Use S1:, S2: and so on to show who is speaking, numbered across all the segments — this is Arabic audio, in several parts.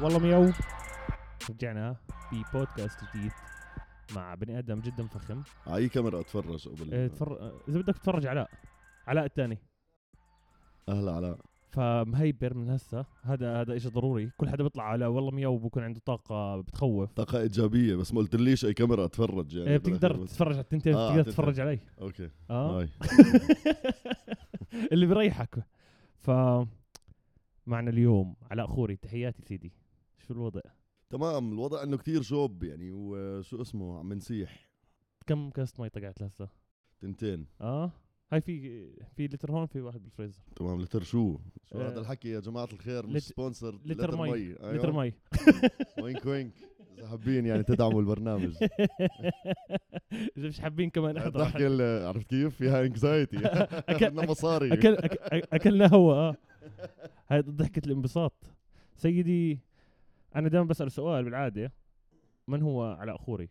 S1: والله مياو رجعنا ببودكاست جديد مع بني ادم جدا فخم
S2: اي آه، كاميرا اتفرج قبل
S1: إيه، تفر... اذا بدك تتفرج علاء علاء الثاني
S2: اهلا علاء
S1: فمهيبر من هسه هذا هذا شيء ضروري كل حدا بيطلع على والله مياو بكون عنده طاقه بتخوف
S2: طاقة ايجابية بس ما قلتليش اي كاميرا اتفرج يعني
S1: إيه، بتقدر
S2: بس-
S1: تتفرج على التنتين
S2: آه،
S1: بتقدر
S2: عالتنتين.
S1: تتفرج علي
S2: اوكي
S1: اه
S2: هاي
S1: اللي بيريحك ف معنا اليوم علاء خوري تحياتي سيدي شو الوضع
S2: تمام الوضع انه كتير شوب يعني وشو اسمه عم نسيح
S1: كم كاس مي طقعت لهسه
S2: تنتين
S1: اه هاي في في لتر هون في واحد بالفريزر
S2: تمام لتر شو؟ شو
S1: آه،
S2: هذا الحكي يا جماعة الخير مش
S1: لت-
S2: سبونسر
S1: لتر مي.
S2: أيوة.
S1: لتر مي
S2: وينك وينك اذا حابين يعني تدعموا البرنامج
S1: اذا مش حابين كمان احضر
S2: الضحكة اللي- آه، عرفت كيف؟ فيها انكزايتي بدنا
S1: أك-
S2: مصاري
S1: اكل أك- اكلنا هوا اه هاي ضحكه الانبساط سيدي انا دائما بسال سؤال بالعاده من هو علاء خوري؟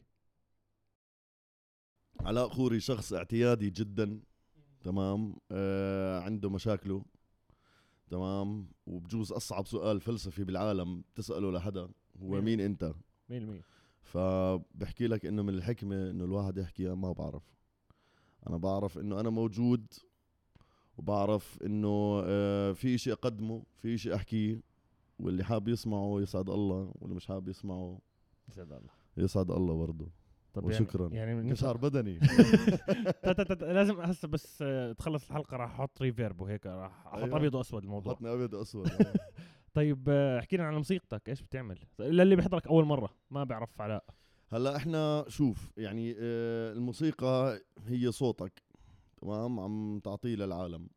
S2: علاء خوري شخص اعتيادي جدا تمام آه عنده مشاكله تمام وبجوز اصعب سؤال فلسفي بالعالم تساله لحدا هو
S1: مين؟
S2: مين انت
S1: 100%
S2: فبحكي لك انه من الحكمه انه الواحد يحكي ما بعرف انا بعرف انه انا موجود وبعرف انه آه في شيء اقدمه في شيء احكيه واللي حاب يسمعه يسعد الله واللي مش حاب يسمعه
S1: يسعد الله
S2: يسعد الله برضه وشكراً.
S1: يعني, يعني
S2: انكسار بدني
S1: تا- تا- تا- تا- لازم هسه بس آه، تخلص الحلقه راح احط ريفيرب وهيك راح احط
S2: أيوة.
S1: ابيض واسود الموضوع
S2: حطنا ابيض اسود
S1: طيب آه، احكي لنا عن موسيقتك ايش بتعمل للي بيحضرك اول مره ما بعرف علاء
S2: هلا احنا شوف يعني آه، الموسيقى هي صوتك تمام عم تعطيه للعالم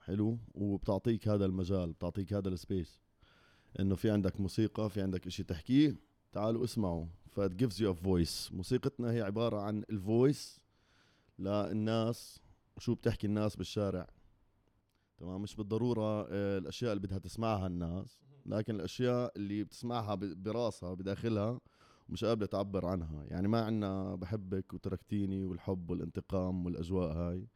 S2: حلو وبتعطيك هذا المجال بتعطيك هذا السبيس انه في عندك موسيقى في عندك اشي تحكيه تعالوا اسمعوا فات جيفز يو فويس موسيقتنا هي عبارة عن الفويس للناس وشو بتحكي الناس بالشارع تمام مش بالضرورة آه، الاشياء اللي بدها تسمعها الناس لكن الاشياء اللي بتسمعها ب- براسها بداخلها مش قابلة تعبر عنها يعني ما عنا بحبك وتركتيني والحب والانتقام والأجواء هاي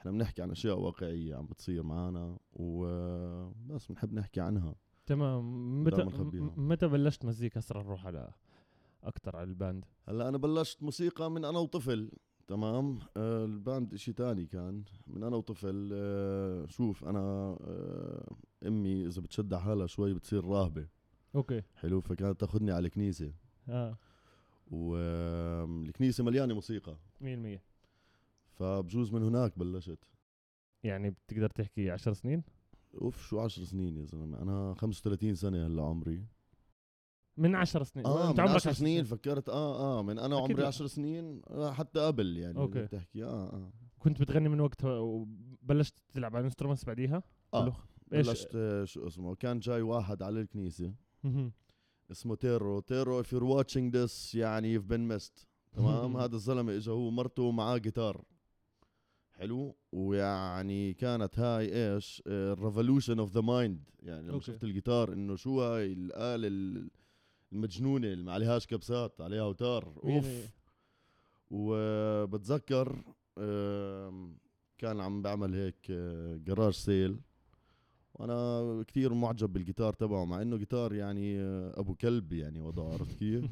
S2: احنا بنحكي عن أشياء واقعية عم بتصير معنا وبس بنحب نحكي عنها
S1: تمام متى
S2: دائماً خبيها.
S1: م- متى بلشت مزيكا هسه رح نروح على اكثر على الباند
S2: هلا أنا بلشت موسيقى من أنا وطفل تمام آه الباند اشي تاني كان من أنا وطفل آه شوف أنا آه أمي إذا بتشد على حالها شوي بتصير راهبة
S1: اوكي
S2: حلو فكانت تاخذني على الكنيسة
S1: اه
S2: والكنيسة مليانة موسيقى
S1: 100%
S2: فبجوز من هناك بلشت
S1: يعني بتقدر تحكي 10 سنين
S2: اوف شو 10 سنين يا زلمه انا 35 سنه هلا عمري
S1: من 10 سنين
S2: اه
S1: إيه، أنت
S2: من 10
S1: عمرك
S2: سنين, سنين فكرت اه اه من انا
S1: أكيد
S2: عمري
S1: لا.
S2: 10 سنين آه حتى قبل يعني
S1: أوكي.
S2: بدك تحكي اه اه
S1: كنت بتغني من وقتها وبلشت تلعب على انسترومنتس بعديها
S2: آه.
S1: بلوخ. إيش-
S2: بلشت آه شو اسمه كان جاي واحد على الكنيسه
S1: مهم.
S2: اسمه تيرو تيرو if you're watching this يعني you've been missed تمام هذا الزلمه اجى هو ومرته معاه جيتار حلو ويعني كانت هاي آه، ايش الريفولوشن اوف ذا مايند يعني لما
S1: أوكي.
S2: شفت الجيتار انه شو هاي الاله ال- المجنونه اللي ما عليهاش كبسات عليها اوتار
S1: مية
S2: اوف
S1: مية.
S2: وبتذكر آم، كان عم بعمل هيك آه، جراج سيل وانا كثير معجب بالجيتار تبعه مع انه جيتار يعني آه، ابو كلب يعني وضعه عرفت كيف؟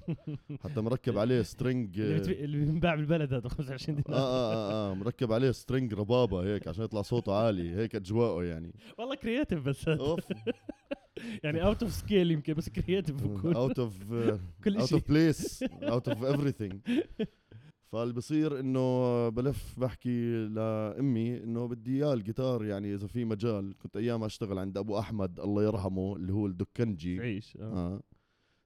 S2: حتى مركب عليه سترنج
S1: اللي بت- اللي بينباع بالبلد هذا 25
S2: آه,
S1: دينار
S2: آه, آه, اه مركب عليه سترنج ربابه هيك عشان يطلع صوته عالي هيك اجواءه يعني
S1: والله كرييتيف بس هاد.
S2: اوف
S1: يعني اوت اوف سكيل يمكن بس كرييتيف بكون
S2: اوت اوف
S1: كل
S2: اوت
S1: شيء
S2: اوف بليس اوت اوف everything فاللي بصير انه بلف بحكي لامي انه بدي اياه الجيتار يعني اذا في مجال كنت ايامها اشتغل عند ابو احمد الله يرحمه اللي هو الدكنجي
S1: تعيش آه.
S2: اه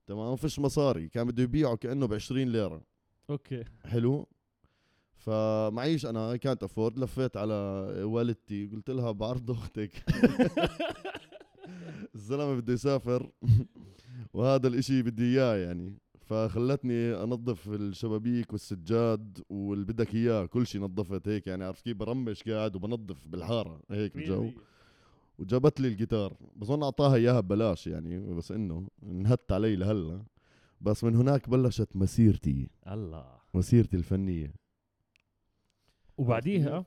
S2: تمام فيش مصاري كان بده يبيعه كانه ب 20 ليره
S1: اوكي
S2: حلو فمعيش انا كانت افورد لفيت على والدتي قلت لها بعرض اختك الزلمه بده يسافر وهذا الاشي بدي اياه يعني فخلتني انظف الشبابيك والسجاد واللي بدك اياه كل شيء نظفت هيك يعني عرفت كيف برمش قاعد وبنظف بالحاره هيك الجو وجابت لي الجيتار بظن اعطاها اياها ببلاش يعني بس انه انهدت علي لهلا بس من هناك بلشت مسيرتي
S1: الله
S2: مسيرتي الفنيه
S1: وبعديها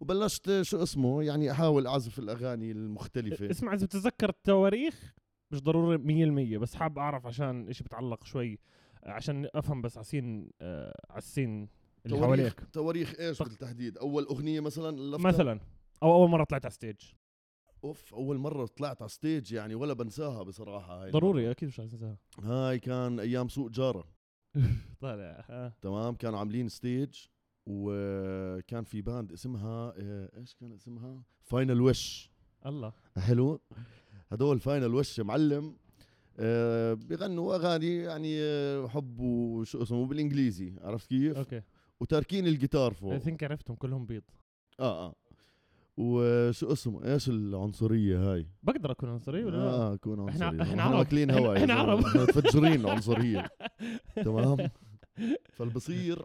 S2: وبلشت شو اسمه يعني احاول اعزف الاغاني المختلفه
S1: إيه، اسمع اذا بتتذكر التواريخ مش ضروري مية المية بس حاب أعرف عشان إيش بتعلق شوي آه، عشان أفهم بس عسين آه، عسين اللي
S2: تواريخ-
S1: حواليك
S2: تواريخ ايش
S1: طق.
S2: بالتحديد اول اغنيه مثلا اللفتة؟
S1: مثلا أو أول مرة طلعت على ستيج
S2: اوف اول مره طلعت على ستيج يعني ولا بنساها بصراحه هاي
S1: ضروري أكيد مش هنساها
S2: هاي كان ايام سوق جاره
S1: طالع آه.
S2: تمام كانوا عاملين ستيج وكان في باند اسمها آه، ايش كان اسمها فاينل وش
S1: الله
S2: حلو هدول فاينل وش معلم آه، بيغنوا اغاني يعني آه، حب وشو اسمه بالانجليزي عرفت كيف
S1: أوكي إيه،
S2: وتاركين الجيتار
S1: اي
S2: فوق
S1: ثينك عرفتهم كلهم بيض
S2: اه اه وشو اسمه ايش العنصريه هاي
S1: بقدر أكون عنصري ولا أيوة، لا؟
S2: اه كون
S1: إحنا-
S2: عنصري
S1: إحنا عرب.
S2: واكلين هواء يا
S1: إحنا
S2: زلمة.
S1: عرب.
S2: إحنا متفجرين عنصريه تمام فالبصير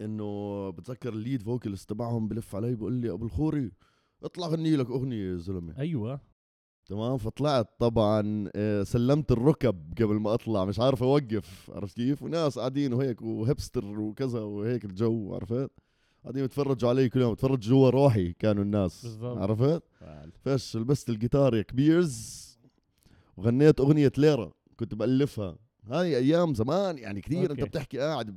S2: انه بتذكر الليد فوكلست تبعهم بلف علي بقول لي ابو الخوري اطلع غني لك اغنيه يا زلمه
S1: أيوة
S2: تمام فطلعت طبعا آه، سلمت الركب قبل ما اطلع مش عارف اوقف عرفت كيف وناس قاعدين وهيك وهبستر وكذا وهيك الجو عرفت قاعدين يتفرجوا علي كل يوم يتفرجوا جوا روحي كانوا الناس
S1: بالضبط.
S2: عرفت فش لبست الجيتار يا كبيرز وغنيت اغنيه ليرا كنت بالفها هاي ايام زمان يعني كثير انت
S1: أوكي.
S2: بتحكي قاعد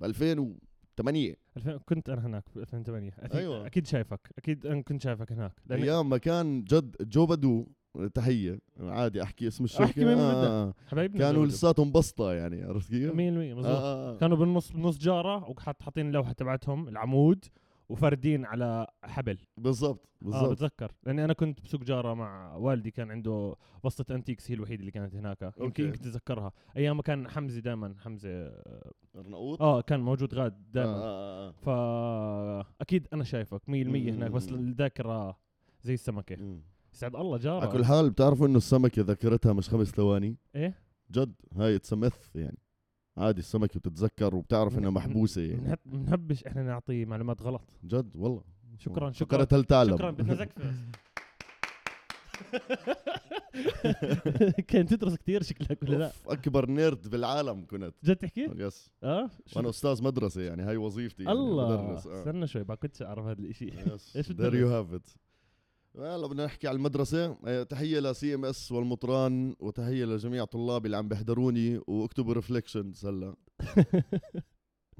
S2: ب 2008
S1: 2000 كنت انا هناك ب 2008 أكيد
S2: أيوة.
S1: أيوة. اكيد شايفك اكيد انا كنت شايفك هناك لأن
S2: ايام ما كان جد جو بدو تحيه عادي احكي اسم الشركه
S1: أحكي مين
S2: آه
S1: حبايبنا
S2: كانوا
S1: زوجهم.
S2: لساتهم بسطه يعني عرفت كيف؟
S1: 100%
S2: آه
S1: مظبوط
S2: آه آه.
S1: كانوا بالنص بنص جاره وحاط حاطين اللوحه تبعتهم العمود وفاردين على حبل
S2: بالضبط
S1: اه
S2: بالضبط
S1: بتذكر لاني انا كنت بسوق جاره مع والدي كان عنده بسطه انتيكس هي الوحيده اللي كانت هناك
S2: أوكي.
S1: يمكن يمكن تتذكرها ايام كان حمزه دائما حمزه
S2: الرناؤوط
S1: اه كان موجود غاد
S2: آه،
S1: دائما
S2: آه، آه، آه.
S1: فاكيد انا شايفك 100% هناك بس
S2: مم.
S1: الذاكره زي السمكه
S2: مم.
S1: يسعد الله
S2: على
S1: جاره
S2: كل حال بتعرفوا انه السمكه ذاكرتها مش خمس ثواني
S1: ايه
S2: جد هاي تسمث يعني عادي السمكه بتتذكر وبتعرف
S1: نعم.
S2: انها محبوسه يعني
S1: بنحب بنحبش احنا نعطي معلومات غلط
S2: جد والله
S1: شكرا شكرا
S2: فقرة هل تعلم
S1: شكرا بدنا زكفة كان تدرس كثير شكلك ولا لا
S2: أوف، اكبر نيرد بالعالم كنت
S1: جد تحكي
S2: يس
S1: اه
S2: وانا استاذ مدرسه يعني هاي وظيفتي يعني
S1: الله
S2: بدرس، آه.
S1: استنى شوي ما كنتش اعرف هذا الاشي
S2: يس
S1: إيش
S2: there
S1: بتدرس؟
S2: you have it هلا بدنا نحكي على المدرسة آه، تحية لسي ام اس والمطران وتحية لجميع طلابي اللي عم بيحضروني واكتبوا ريفليكشنز هلا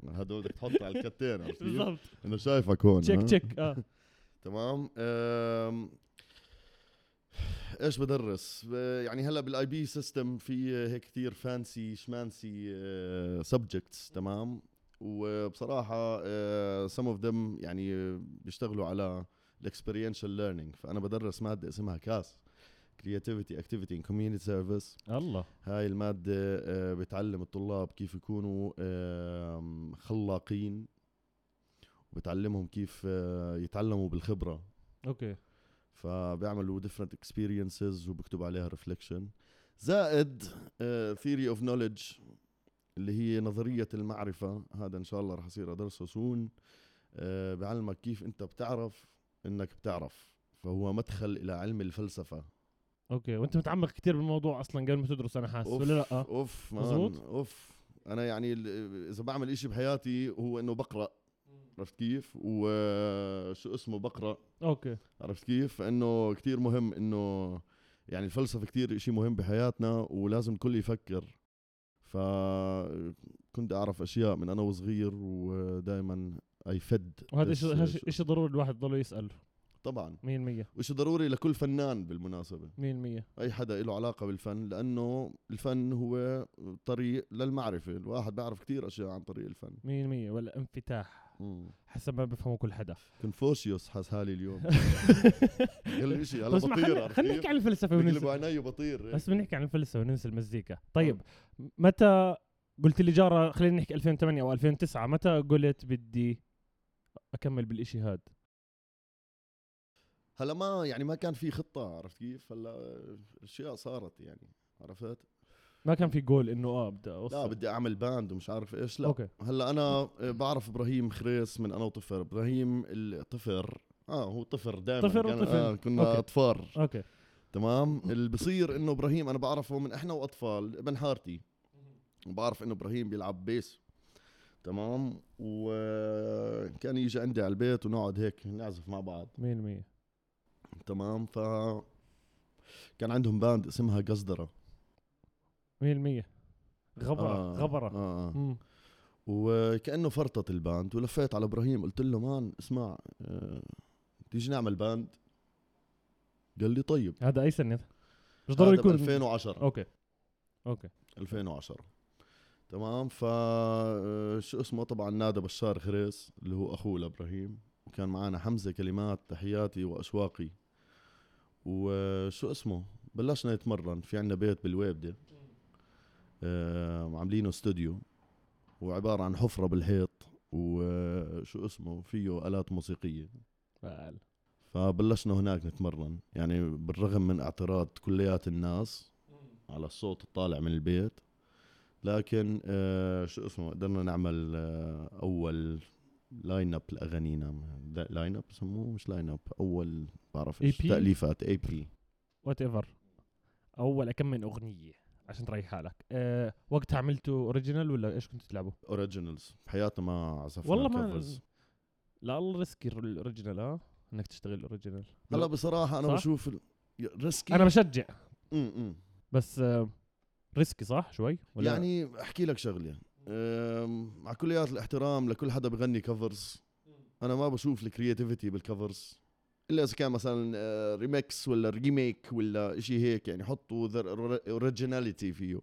S2: هدول بدك تحط على الكتين عرفت كيف؟
S1: بالضبط
S2: انا شايفك هون
S1: تشيك
S2: ها؟
S1: تشيك اه
S2: تمام آم، ايش بدرس آه، يعني هلا بالاي بي سيستم في آه، هيك كثير فانسي شمانسي سبجكتس آه، تمام آه، وبصراحه سم اوف ذم يعني آه، بيشتغلوا على الاكسبيرينشال ليرنينج فانا بدرس ماده اسمها كاس كرياتيفيتي اكتيفيتي ان كوميونتي سيرفيس
S1: الله
S2: هاي المادة آه، بتعلم الطلاب كيف يكونوا آم، خلاقين وبتعلمهم كيف آه، يتعلموا بالخبرة
S1: اوكي
S2: فبيعملوا different experiences وبكتب عليها reflection زائد آه، theory of knowledge اللي هي نظرية المعرفة هذا إن شاء الله رح يصير أدرسه سون آه، بعلمك كيف أنت بتعرف إنك بتعرف فهو مدخل إلى علم الفلسفة
S1: اوكي وانت متعمق كثير بالموضوع اصلا قبل ما تدرس انا حاسس
S2: أوف،
S1: ولا لا آه.
S2: اوف مان،
S1: مزبوط؟
S2: اوف انا يعني ال- اذا بعمل إشي بحياتي هو انه بقرا عرفت كيف وشو اسمه بقرا
S1: اوكي
S2: عرفت كيف فانه كتير مهم انه يعني الفلسفه كتير إشي مهم بحياتنا ولازم الكل يفكر فكنت اعرف اشياء من انا وصغير ودائما اي فد
S1: وهذا شيء هذا شيء ضروري الواحد يضل يسال 100%
S2: طبعا
S1: 100%
S2: وشيء ضروري لكل فنان بالمناسبه اي حدا له علاقه بالفن لانه الفن هو طريق للمعرفه الواحد بيعرف كتير اشياء عن طريق الفن
S1: 100% ولا انفتاح حسب ما بفهمه كل حدا
S2: كونفوشيوس حس حالي اليوم قال لي شيء هلا
S1: بس ما
S2: بطير
S1: طيب، خلينا
S2: عرفت
S1: خلينا نحكي
S2: كيف؟
S1: عن الفلسفه وننسى
S2: بقلبوا عيني وبطير
S1: بس بنحكي عن الفلسفه وننسى المزيكا
S2: آه.
S1: طيب متى قلت لي جاره خلينا نحكي 2008 او 2009 متى قلت بدي اكمل بالإشي هاد
S2: هلا ما يعني ما كان في خطه عرفت كيف هلا اشياء صارت يعني عرفت
S1: ما كان في جول انه اه بدي اوصل
S2: لا بدي اعمل باند ومش عارف ايش لا
S1: اوكي
S2: هلا انا بعرف ابراهيم خريس من انا وطفر ابراهيم الطفر اه هو طفر دائما
S1: طفر وطفل.
S2: آه كنا
S1: أوكي.
S2: اطفار
S1: اوكي
S2: تمام اللي بصير انه ابراهيم انا بعرفه من احنا واطفال ابن حارتي بعرف انه ابراهيم بيلعب بيس تمام وكان يجي عندي على البيت ونقعد هيك نعزف مع بعض
S1: 100%
S2: تمام ف كان عندهم باند اسمها قصدرة
S1: 100% غبره
S2: آه،
S1: غبره
S2: آه. آه.
S1: مم.
S2: وكأنه فرطت الباند ولفيت على إبراهيم قلت له مان اسمع آه، تيجي نعمل باند قال لي طيب
S1: هذا اي سنه مش
S2: هذا
S1: ضروري
S2: ب
S1: يكون
S2: 2010
S1: اوكي اوكي
S2: 2010 تمام ف آه، شو اسمه طبعا نادى بشار خريس اللي هو اخوه لابراهيم وكان معانا حمزه كلمات تحياتي واشواقي وشو اسمه بلشنا نتمرن في عندنا بيت بالويبده آه، عاملينه استوديو وعباره عن حفره بالحيط وشو اسمه فيه الات موسيقيه
S1: تعال.
S2: فبلشنا هناك نتمرن يعني بالرغم من اعتراض كليات الناس على الصوت الطالع من البيت لكن آه شو اسمه قدرنا نعمل آه اول لاين اب لاغانينا دا- لاين اب سموه مش لاين اب اول بعرف ايش
S1: EP?
S2: تاليفات اي بي
S1: وات ايفر اول كم من اغنيه عشان تريح حالك أه وقتها عملته اوريجينال ولا ايش كنت تلعبوا
S2: اوريجينالز بحياتنا ما عزفنا
S1: والله ما
S2: covers.
S1: لا الله ريسكي الاوريجينال اه انك تشتغل اوريجينال
S2: هلا بصراحه انا
S1: صح؟
S2: بشوف ال- ي- ريسكي
S1: انا بشجع
S2: م- م.
S1: بس آه، ريسكي صح شوي ولا
S2: يعني احكي لك شغله آم، مع كليات الاحترام لكل حدا بغني كفرز انا ما بشوف الكرياتيفيتي بالكفرز الا اذا كان مثلا آه، ريميكس ولا ريميك ولا شيء هيك يعني حطوا اوريجيناليتي فيه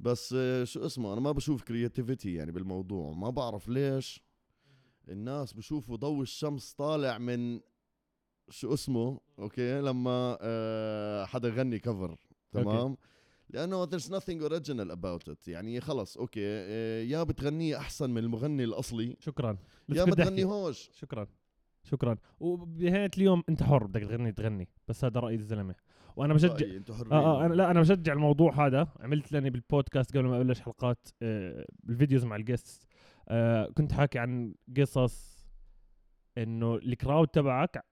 S2: بس آه، شو اسمه انا ما بشوف كرياتيفيتي يعني بالموضوع ما بعرف ليش الناس بشوفوا ضوء الشمس طالع من شو اسمه اوكي لما آه، حدا يغني كفر تمام لانه there's nothing original about it يعني خلص اوكي آه، يا بتغنيه احسن من المغني الاصلي
S1: شكرا لسه
S2: يا
S1: بدي
S2: بتغني
S1: أحكي.
S2: هوش
S1: شكرا شكرا وبنهايه اليوم انت حر بدك تغني تغني بس هذا راي الزلمه وانا بشجع
S2: رأيي، انتوا طيب، حرين
S1: اه اه انا لا انا بشجع الموضوع هذا عملت لاني بالبودكاست قبل ما ابلش حلقات آه بالفيديوز مع الجيست آه كنت حاكي عن قصص انه الكراود تبعك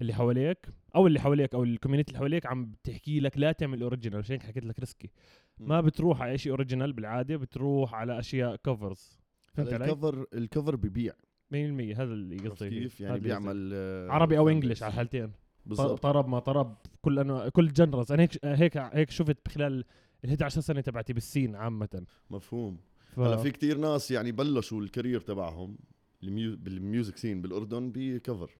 S1: اللي حواليك او اللي حواليك او الكوميونتي اللي حواليك عم بتحكي لك لا تعمل اوريجينال عشان هيك حكيت لك ريسكي ما بتروح على شيء اوريجينال بالعاده بتروح على اشياء كفرز فهمت
S2: هلا
S1: علي؟ 100%
S2: الكفر الكفر ببيع
S1: هذا اللي
S2: عرفت
S1: قصدي فيه.
S2: كيف
S1: هذا
S2: يعني
S1: اللي قصدي.
S2: بيعمل آه،
S1: عربي او
S2: fan
S1: انجلش
S2: base.
S1: على طيب، الحالتين ط-
S2: بالضبط
S1: طرب ما طرب كل انواع كل جنرز انا هيك هيك هيك شفت خلال ال 11 سنه تبعتي بالسين عامه
S2: مفهوم
S1: ف...
S2: هلا في كتير ناس يعني بلشوا الكارير تبعهم الميو- بالميوزك سين بالاردن بكفر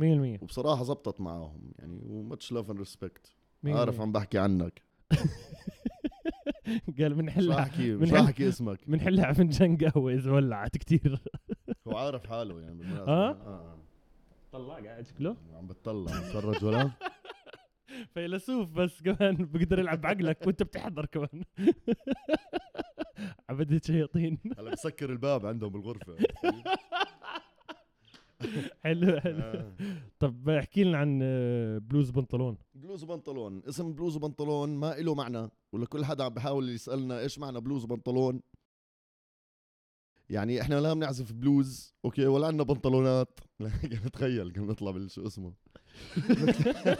S1: 100%
S2: وبصراحه زبطت معاهم يعني وماتش لاف اند ريسبكت
S1: 100%
S2: عارف عم بحكي عنك
S1: قال
S2: مش رح
S1: بنحلها
S2: احكي
S1: من
S2: مش
S1: حل-
S2: رح احكي اسمك
S1: بنحلها على فنجان قهوه اذا ولعت كثير
S2: هو عارف حاله يعني بالمناسبة.
S1: آه؟
S2: آه.
S1: طلع قاعد شكله
S2: عم بتطلع عم بتفرج ولا
S1: فيلسوف بس كمان بقدر يلعب بعقلك وانت بتحضر كمان عبدة شياطين
S2: هلا بسكر الباب عندهم بالغرفه
S1: حلو حلو
S2: آه.
S1: طب احكي لنا عن آه، بلوز بنطلون
S2: بلوز وبنطلون اسم بلوز وبنطلون ما إله معنى ولكل حدا عم بحاول يسالنا ايش معنى بلوز وبنطلون يعني احنا لا بنعزف بلوز اوكي ولا عندنا بنطلونات تخيل كنا نطلع بالشو اسمه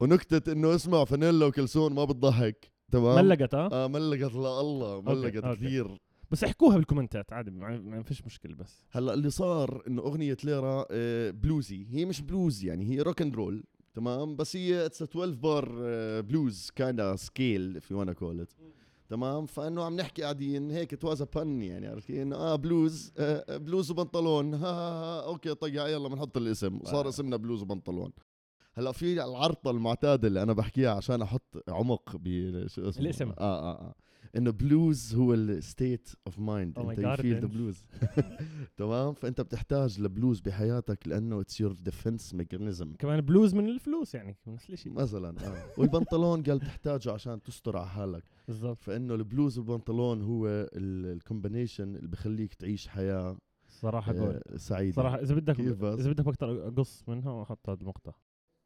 S2: ونكتة انه اسمع فانيلا وكلسون ما بتضحك تمام
S1: ملقت اه
S2: اه ملقت لا الله ملقت
S1: أوكي.
S2: كثير
S1: بس احكوها بالكومنتات عادي ما ما فيش مشكله بس
S2: هلا اللي صار انه اغنيه ليرا آه، بلوزي هي مش بلوز يعني هي روك اند رول تمام بس هي اتس 12 بار آه، بلوز كايندا سكيل اف يو وانا كول ات تمام فانه عم نحكي قاعدين هيك توازا بن يعني عرفتي انه اه بلوز آه آه، بلوز وبنطلون ها, ها, ها اوكي طيب يلا بنحط الاسم وصار
S1: آه.
S2: اسمنا بلوز وبنطلون هلا في العرطه المعتاده اللي انا بحكيها عشان احط عمق بشو اسمه
S1: الاسم.
S2: اه اه اه انه بلوز هو الستيت اوف مايند
S1: Oh my
S2: انت
S1: God,
S2: يفيل ذا
S1: Benj.
S2: بلوز تمام فانت بتحتاج لبلوز بحياتك لانه اتس يور ديفنس ميكانيزم
S1: كمان بلوز من الفلوس يعني نفس الشيء
S2: مثلا اه والبنطلون قال بتحتاجه عشان تستر على حالك
S1: بالضبط
S2: فانه البلوز والبنطلون هو الكومبينيشن اللي بخليك تعيش آه، حياه
S1: صراحه جول
S2: آه، سعيده
S1: صراحه اذا بدك
S2: كيف بس؟
S1: اذا بدك بقدر اقص منها واحط هذا المقطع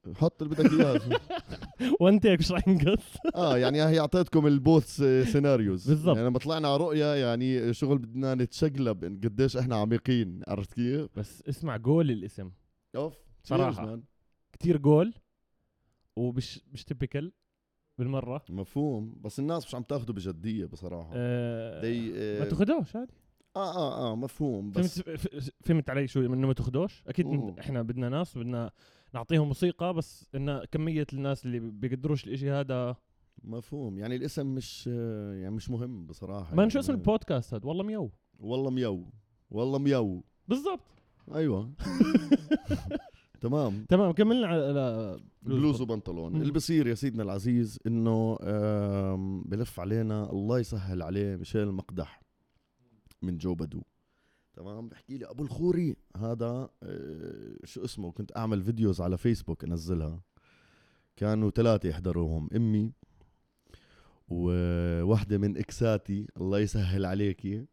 S2: حط اللي بدك اياه
S1: وان تيك مش رح نقص
S2: اه يعني هي اعطيتكم البوث س- سيناريوز
S1: بالضبط.
S2: يعني لما طلعنا على رؤيا يعني شغل بدنا نتشقلب إن قديش احنا عميقين عرفت كيف؟
S1: بس اسمع جول الاسم
S2: اوف
S1: صراحة.
S2: cheers, man.
S1: كتير جول ومش مش تيبيكال بالمره
S2: مفهوم بس الناس مش عم تاخده بجديه بصراحه
S1: آه
S2: دي
S1: ما
S2: اه
S1: تاخدوش عادي
S2: اه اه, آه مفهوم بس
S1: فهمت ف- فهمت علي شو انه ما تاخدوش اكيد
S2: أوه.
S1: احنا بدنا ناس وبدنا نعطيهم موسيقى بس انه كميه الناس اللي بيقدروش الاشي هذا
S2: مفهوم يعني الاسم مش آه، يعني مش مهم بصراحه
S1: ما
S2: يعني
S1: شو اسم البودكاست هذا والله ميو
S2: والله ميو والله ميو
S1: بالضبط
S2: ايوه تمام
S1: تمام كملنا على- على
S2: بلوز وبنطلون
S1: مم.
S2: اللي بصير يا سيدنا العزيز انه آم، بلف علينا الله يسهل عليه ميشيل مقدح من جو بدو تمام بحكي لي ابو الخوري هذا آه، شو اسمه كنت اعمل فيديوز على فيسبوك انزلها كانوا ثلاثه يحضروهم امي وواحدة من اكساتي الله يسهل عليكي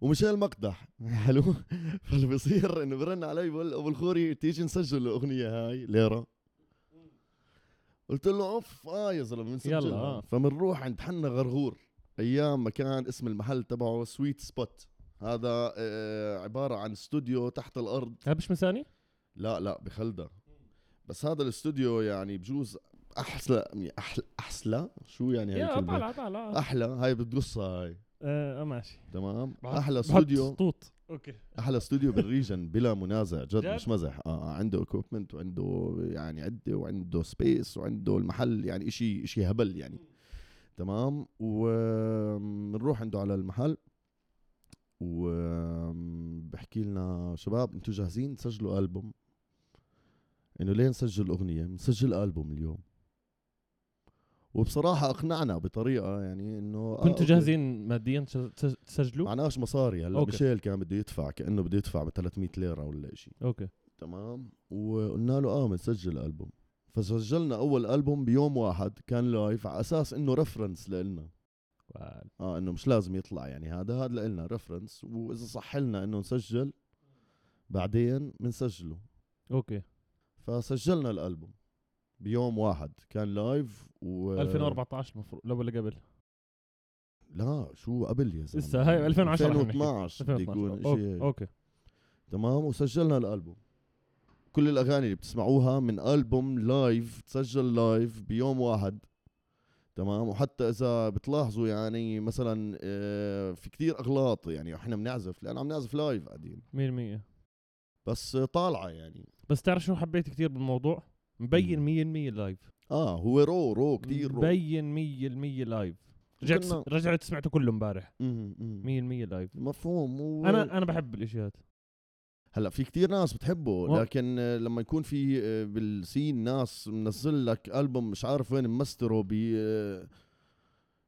S2: وميشيل مقدح حلو فاللي بصير انه برن علي بقول ابو الخوري تيجي نسجل الاغنيه هاي ليره قلت له اوف اه يا زلمه بنسجلها
S1: يلا، آه.
S2: فبنروح عند حنا غرغور ايام ما كان اسم المحل تبعه سويت سبوت هذا آه عباره عن استوديو تحت الارض
S1: هذا مش مساني
S2: لا لا بخلدة بس هذا الاستوديو يعني بجوز احلى احلى احلى شو يعني هاي
S1: يا
S2: الكلمه
S1: طالع طالع
S2: احلى هاي بتقصها هاي
S1: آه ماشي
S2: تمام
S1: بحط-
S2: احلى
S1: بحط
S2: استوديو
S1: سطوط اوكي
S2: احلى استوديو بالريجن بلا منازع جد,
S1: جد؟
S2: مش مزح آه آه، عنده اكوبمنت وعنده يعني عده وعنده سبيس وعنده المحل يعني اشي اشي هبل يعني تمام وبنروح عنده على المحل وبحكي لنا شباب انتوا جاهزين تسجلوا البوم انه ليه نسجل اغنيه بنسجل البوم اليوم وبصراحه اقنعنا بطريقه يعني انه آه،
S1: كنتوا
S2: أوكي.
S1: جاهزين ماديا تسج- تسج- تسجلوا
S2: معناش مصاري هلا
S1: أوكي.
S2: ميشيل كان بده يدفع كانه بده يدفع ب 300 ليره ولا شيء
S1: اوكي
S2: تمام وقلنا له اه بنسجل البوم فسجلنا اول البوم بيوم واحد كان لايف على اساس انه ريفرنس لنا اه انه مش لازم يطلع يعني هذا هذا لنا ريفرنس واذا صح لنا انه نسجل بعدين بنسجله
S1: اوكي
S2: آه. فسجلنا الالبوم بيوم واحد كان لايف و
S1: 2014 المفروض لو ولا قبل
S2: لا شو قبل يا زلمه
S1: لسه هاي 2010 عم نحكي.
S2: 2012 بده يكون
S1: 2012
S2: شيء
S1: اوكي اوكي
S2: تمام وسجلنا الالبوم كل الاغاني اللي بتسمعوها من البوم لايف تسجل لايف بيوم واحد تمام وحتى اذا بتلاحظوا يعني مثلا آه، في كتير اغلاط يعني احنا بنعزف لان عم نعزف لايف قاعدين
S1: 100%
S2: بس آه، طالعه يعني
S1: بس تعرف شو حبيت كثير بالموضوع مبين 100% لايف
S2: اه هو رو رو كتير رو
S1: مبين 100% لايف رجعت
S2: كنا-
S1: رجعت سمعته كله امبارح 100%
S2: مم، مم.
S1: لايف
S2: مفهوم و...
S1: انا انا بحب الاشياء
S2: هلا في كتير ناس بتحبه
S1: ما-
S2: لكن آه، لما يكون في آه، بالسين ناس منزل لك البوم مش عارف وين ممستره ب آه،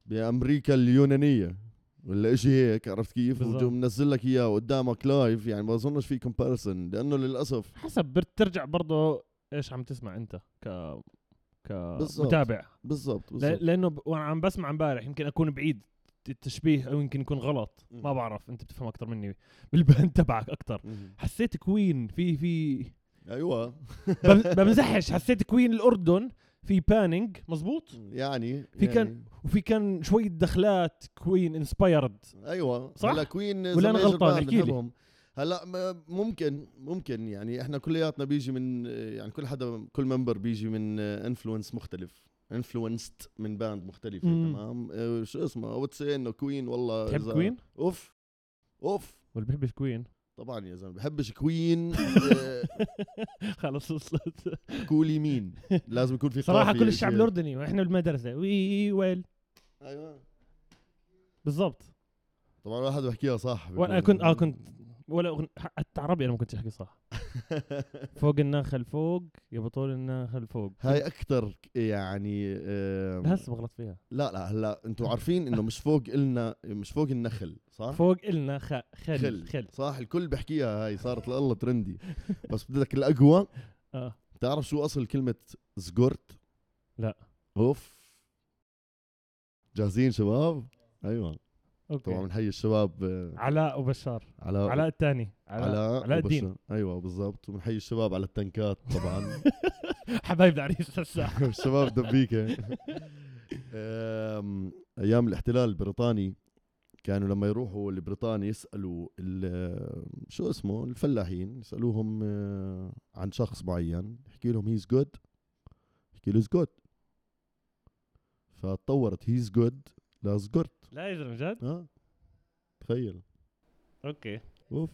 S2: بامريكا اليونانيه ولا اشي هيك عرفت كيف
S1: بالظبط.
S2: وجو منزل لك اياه قدامك لايف يعني ما اظنش في كومباريسون لانه للاسف
S1: حسب بترجع برضه ايش عم تسمع انت ك
S2: بالضبط.
S1: كمتابع
S2: بالضبط بالضبط
S1: ل- لانه ب... وانا عم بسمع امبارح يمكن اكون بعيد التشبيه او يمكن يكون غلط
S2: مم.
S1: ما بعرف انت بتفهم اكثر مني بالبند تبعك اكثر
S2: مهم.
S1: حسيت كوين في في
S2: ايوه
S1: بم- بمزحش حسيت كوين الاردن في بانينج مزبوط
S2: يعني
S1: في
S2: يعني
S1: كان- وفي كان شويه دخلات كوين انسبايرد
S2: ايوه
S1: صح؟
S2: هلا كوين
S1: ولا أنا غلطان؟ احكي لي.
S2: هلا ما- ممكن ممكن يعني احنا كلياتنا بيجي من يعني كل حدا كل ممبر بيجي من انفلونس مختلف انفلونست من باند مختلفه
S1: مم.
S2: تمام آه، شو اسمه اود سي انه كوين والله
S1: تحب
S2: إذا-
S1: كوين
S2: اوف اوف
S1: ولا بحبش كوين
S2: طبعا يا زلمه بحبش كوين
S1: خلص وصلت
S2: كولي مين لازم يكون في
S1: صراحه
S2: قافية
S1: كل الشعب
S2: شيء.
S1: الاردني واحنا بالمدرسه وي ويل
S2: ايوه
S1: بالضبط
S2: طبعا الواحد بحكيها صح
S1: وانا كنت اه كنت ولا أغن... حتى عربي انا ما كنتش احكي صح فوق النخل فوق يا بطول النخل فوق
S2: هاي اكثر يعني آم،
S1: هسه بغلط فيها
S2: لا لا هلا انتم عارفين انه مش فوق النا مش فوق النخل صح؟
S1: فوق النا خ... خل خل, خل.
S2: صح الكل بحكيها هاي صارت لله ترندي بس بدك الاقوى
S1: اه
S2: تعرف شو اصل كلمه زقرت؟
S1: لا.
S2: اوف جاهزين شباب؟ ايوه طبعا
S1: اوكي
S2: بنحيي الشباب آه،
S1: علاء وبشار
S2: على
S1: علاء الثاني
S2: علاء
S1: علاء الدين
S2: وبشر. ايوه بالضبط وبنحيي الشباب على التنكات طبعا
S1: حبايب العريس هسه
S2: الشباب دبيكه أم، ايام الاحتلال البريطاني كانوا لما يروحوا لبريطانيا يسالوا ال- شو اسمه الفلاحين يسالوهم آه، عن شخص معين يحكي لهم هيز جود يحكي له جود فتطورت هيز جود لازجرت
S1: لا يا زلمه جد
S2: ها آه، تخيل
S1: اوكي
S2: اوف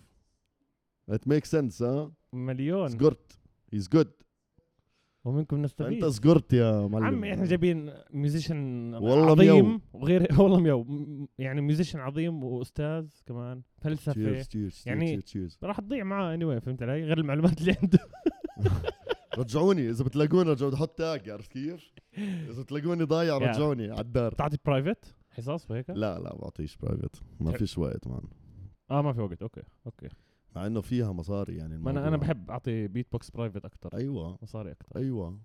S2: ات ميك سنس ها
S1: مليون
S2: زجرت هيز جود
S1: ومنكم
S2: انت
S1: نستفيد
S2: سقرت يا معلم
S1: عمي احنا جايبين ميوزيشن
S2: والله
S1: عظيم
S2: ميو.
S1: وغير والله ميو م- يعني ميوزيشن عظيم واستاذ كمان فلسفه
S2: تشيرز تشيرز
S1: يعني-
S2: يعني تشيرز
S1: راح تضيع معاه اني anyway, فهمت علي غير المعلومات اللي عنده
S2: رجعوني اذا بتلاقوني رجعوني حط تاج عرفت كيف؟ اذا بتلاقوني ضايع
S1: يا.
S2: رجعوني على الدار
S1: تعطي برايفت حصص وهيك
S2: لا لا بعطيش برايفت ما
S1: تحب-
S2: فيش وقت مان
S1: اه ما في وقت اوكي اوكي
S2: مع انه فيها مصاري يعني
S1: ما
S2: الموضوع.
S1: انا انا بحب اعطي بيت بوكس برايفت اكثر
S2: ايوه
S1: مصاري اكثر
S2: ايوه أوف.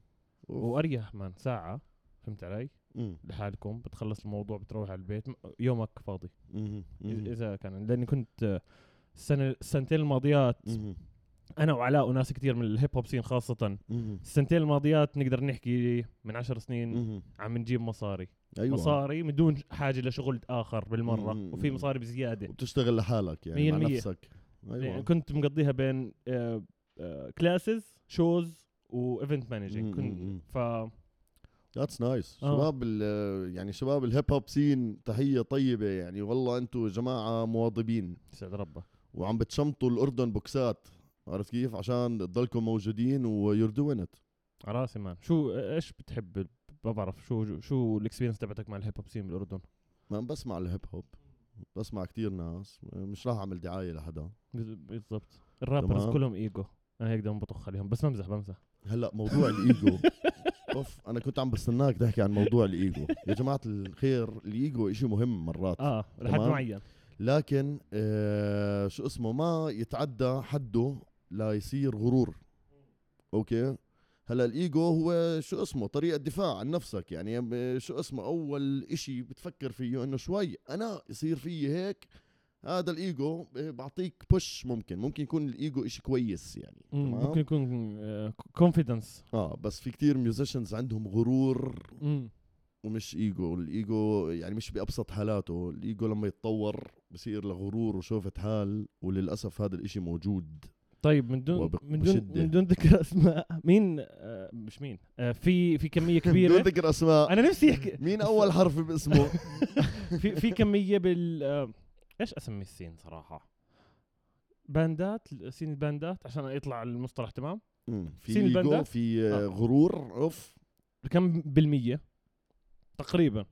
S1: واريح مان ساعه فهمت علي
S2: مم.
S1: لحالكم بتخلص الموضوع بتروح على البيت م- يومك فاضي
S2: مهم.
S1: إذ-
S2: مهم.
S1: اذا كان لاني كنت آه، السنه السنتين الماضيات
S2: مهم.
S1: انا وعلاء وناس كثير من الهيب هوب سين خاصه
S2: مهم.
S1: السنتين الماضيات نقدر نحكي من عشر سنين
S2: مهم.
S1: عم نجيب مصاري
S2: ايوه
S1: مصاري من دون حاجه لشغل اخر بالمره
S2: مم.
S1: وفي مصاري بزياده
S2: وبتشتغل لحالك يعني
S1: مية
S2: مع
S1: المية.
S2: نفسك
S1: يعني
S2: ايوه
S1: كنت مقضيها بين آه، كلاسز شوز وايفنت مانجينج
S2: مم،
S1: كنت
S2: مم.
S1: ف
S2: ذاتس نايس
S1: آه.
S2: شباب ال- يعني شباب الهيب هوب سين تحيه طيبه يعني والله انتم جماعه مواظبين
S1: يسعد ربك
S2: وعم بتشمطوا الاردن بوكسات عرفت كيف عشان تضلكم موجودين ويور دوينت
S1: على راسي مان شو ايش بتحب ال- ما بعرف شو شو الاكسبيرينس تبعتك مع الهيب هوب سين بالاردن
S2: ما أنا بسمع الهيب هوب بسمع كتير ناس مش راح اعمل دعايه لحدا
S1: بز- بالضبط الرابرز
S2: تمام.
S1: كلهم ايجو انا هيك دائما بطخ عليهم بس بمزح بمزح
S2: هلا موضوع الايجو اوف انا كنت عم بستناك تحكي عن موضوع الايجو يا جماعه الخير الايجو إشي مهم مرات
S1: اه لحد
S2: تمام.
S1: معين
S2: لكن آه شو اسمه ما يتعدى حده لا يصير غرور اوكي هلا الايجو هو شو اسمه طريقه دفاع عن نفسك يعني ب- شو اسمه اول إشي بتفكر فيه انه شوي انا يصير فيي هيك هذا الايجو آه، بعطيك بوش ممكن ممكن يكون الايجو إشي كويس يعني
S1: مم،
S2: تمام؟
S1: ممكن يكون آه، كونفيدنس
S2: اه بس في كتير ميوزيشنز عندهم غرور ومش ايجو الايجو يعني مش بابسط حالاته الايجو لما يتطور بصير لغرور وشوفة حال وللاسف هذا الاشي موجود
S1: طيب من دون
S2: وبق-
S1: من دون
S2: بشدة.
S1: من دون ذكر اسماء مين آه مش مين آه في في كميه
S2: بدون
S1: كبيره
S2: ذكر اسماء
S1: انا نفسي احكي
S2: مين اول حرف باسمه
S1: في في كميه بال آه، ايش اسمي السين صراحه باندات سين الباندات عشان يطلع المصطلح تمام
S2: مم، في
S1: سين الباندا؟
S2: ايجو في آه،
S1: آه.
S2: غرور اوف
S1: كم بالميه تقريبا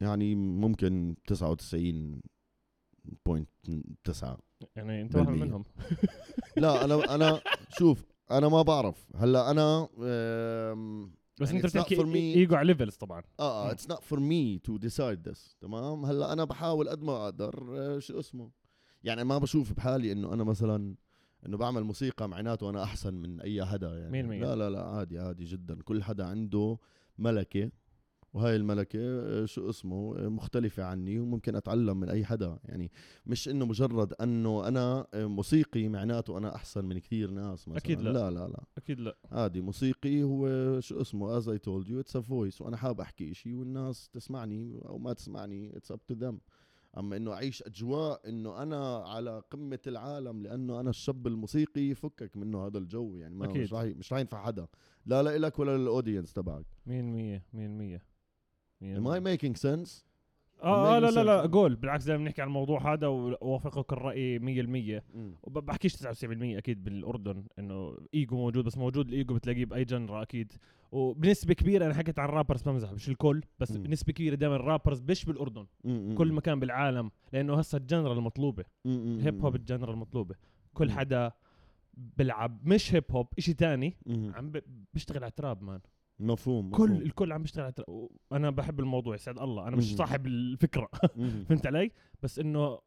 S2: يعني ممكن 99 بوينت تسعة
S1: يعني انت واحد
S2: بالمية.
S1: منهم
S2: لا انا انا شوف انا ما بعرف هلا انا آم،
S1: بس
S2: يعني
S1: انت
S2: it's not
S1: بتحكي
S2: for me.
S1: ايجو على ليفلز طبعا
S2: اه
S1: مم.
S2: اتس نوت فور مي تو ديسايد ذس تمام هلا انا بحاول قد ما اقدر آه، شو اسمه يعني ما بشوف بحالي انه انا مثلا انه بعمل موسيقى معناته انا احسن من اي حدا يعني
S1: مية بالمية.
S2: لا لا لا عادي عادي جدا كل حدا عنده ملكه وهاي الملكة آه، شو اسمه آه، مختلفة عني وممكن أتعلم من أي حدا يعني مش إنه مجرد أنه أنا آه، موسيقي معناته أنا أحسن من كثير ناس مثلا
S1: أكيد لا.
S2: لا لا لا
S1: اكيد لا
S2: عادي موسيقي هو شو اسمه از اي تولد يو اتس ا فويس وانا حاب احكي شيء والناس تسمعني او ما تسمعني اتس اب تو ذم اما انه اعيش اجواء انه انا على قمه العالم لانه انا الشاب الموسيقي فكك منه هذا الجو يعني ما
S1: أكيد.
S2: مش راح مش راح ينفع حدا لا لا لك ولا للاودينس تبعك
S1: 100% 100%
S2: am I making sense
S1: اه اه لا لا لا
S2: sense.
S1: قول بالعكس دائما بنحكي عن الموضوع هذا واوافقك الراي 100% وبحكيش 99% اكيد بالاردن انه ايجو موجود بس موجود الايجو بتلاقيه باي جنرا اكيد وبنسبه كبيره انا حكيت عن الرابرز بمزح مش الكل بس
S2: مم.
S1: بنسبه كبيره دائما الرابرز مش بالاردن
S2: م- م-
S1: كل
S2: م.
S1: مكان بالعالم لانه هسه الجنرا المطلوبه
S2: م- م- م-
S1: الهيب هوب الجنرا المطلوبه كل
S2: مم.
S1: حدا بلعب مش هيب هوب إشي تاني
S2: م-
S1: عم ب- بيشتغل على تراب مان
S2: مفهوم
S1: كل
S2: مفهوم.
S1: الكل عم بيشتغل على تراب انا بحب الموضوع يسعد الله انا مش
S2: مم.
S1: صاحب الفكره
S2: م- م.
S1: فهمت علي؟ بس انه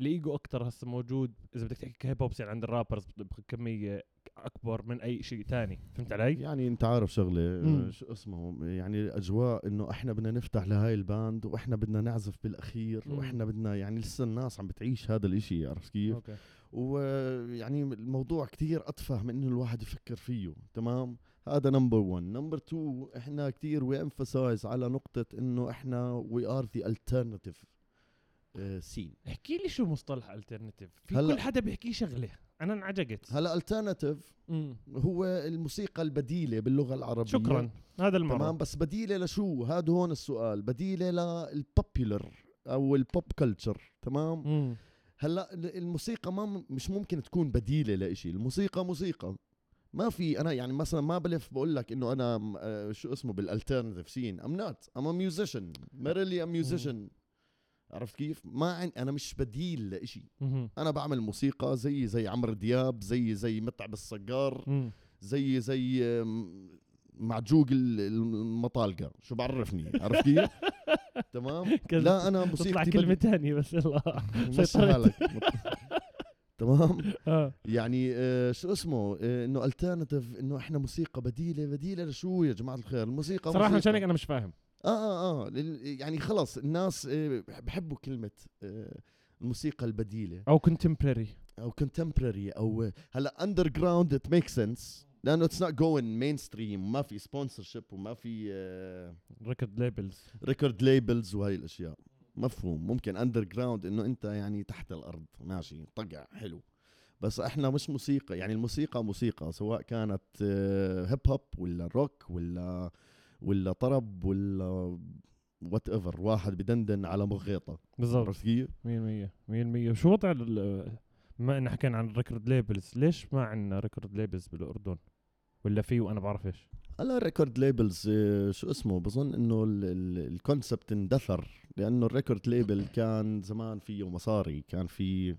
S1: الايجو اكثر هسه موجود اذا بدك تحكي كهيب هوب يعني عند الرابرز بكميه اكبر من اي شيء تاني فهمت علي؟
S2: يعني انت عارف شغله
S1: مم.
S2: آه، شو اسمه يعني اجواء انه احنا بدنا نفتح لهاي الباند واحنا بدنا نعزف بالاخير
S1: مم.
S2: واحنا بدنا يعني لسه الناس عم بتعيش هذا الاشي عرفت كيف
S1: اوكي
S2: ويعني الموضوع كتير اتفه من انه الواحد يفكر فيه تمام هذا نمبر 1 نمبر 2 احنا كتير وي emphasize على نقطه انه احنا وي ار ذا الترناتيف سين
S1: احكي لي شو مصطلح الترنتيف في
S2: هلا-
S1: كل حدا بيحكي شغله انا انعجقت
S2: هلا الترناتيف
S1: مم.
S2: هو الموسيقى البديله باللغه العربيه
S1: شكرا هذا
S2: تمام
S1: المعروف
S2: بس بديله لشو هاد هون السؤال بديله للبوبيولر او البوب كلتشر تمام
S1: مم.
S2: هلا ال- الموسيقى ما م- مش ممكن تكون بديله لإشي الموسيقى موسيقى ما في انا يعني مثلا ما بلف بقول لك انه انا م- آه، شو اسمه بالالترناتيف سين ام نوت ام ا ميوزيشن ميرلي ام ميوزيشن عرفت كيف؟ ما عن... انا مش بديل لإشي
S1: مهم.
S2: انا بعمل موسيقى زي زي عمرو دياب زي زي متعب الصقار
S1: مم.
S2: زي زي آم، معجوق ال- المطالقه شو بعرفني عرفت كيف؟ تمام؟
S1: كذا
S2: لا انا
S1: تطلع
S2: موسيقتي
S1: كلمة
S2: بدي-
S1: ثانية بس يلا
S2: مش
S1: سيطرت.
S2: حالك تمام؟
S1: آه.
S2: يعني آه، شو اسمه آه، انه الترناتيف انه احنا موسيقى بديله بديله لشو يا جماعه الخير الموسيقى
S1: صراحة
S2: موسيقى.
S1: مشان هيك انا مش فاهم
S2: اه اه اه لل- يعني خلص الناس آه، بح- بحبوا كلمه آه، الموسيقى البديله
S1: او كونتمبرري
S2: او كونتمبرري او آه، هلا اندر جراوند ات ميك سنس لانه اتس نوت جوين مين ستريم ما في سبونسر شيب وما في آه،
S1: ريكورد ليبلز
S2: ريكورد ليبلز وهي الاشياء مفهوم ممكن اندر جراوند انه انت يعني تحت الارض ماشي طقع حلو بس احنا مش موسيقى يعني الموسيقى موسيقى سواء كانت آه، هيب هوب ولا روك ولا ولا طرب ولا وات ايفر واحد بدندن على مغيطه
S1: بالضبط
S2: عرفت كيف؟
S1: 100% 100% شو وضع ال- بما ان حكينا عن الريكورد ليبلز ليش ما عندنا ريكورد ليبلز بالاردن ولا في وانا بعرفش
S2: هلا الريكورد ليبلز آه، شو اسمه بظن انه ال- ال- الكونسبت اندثر لانه الريكورد ليبل كان زمان فيه مصاري كان في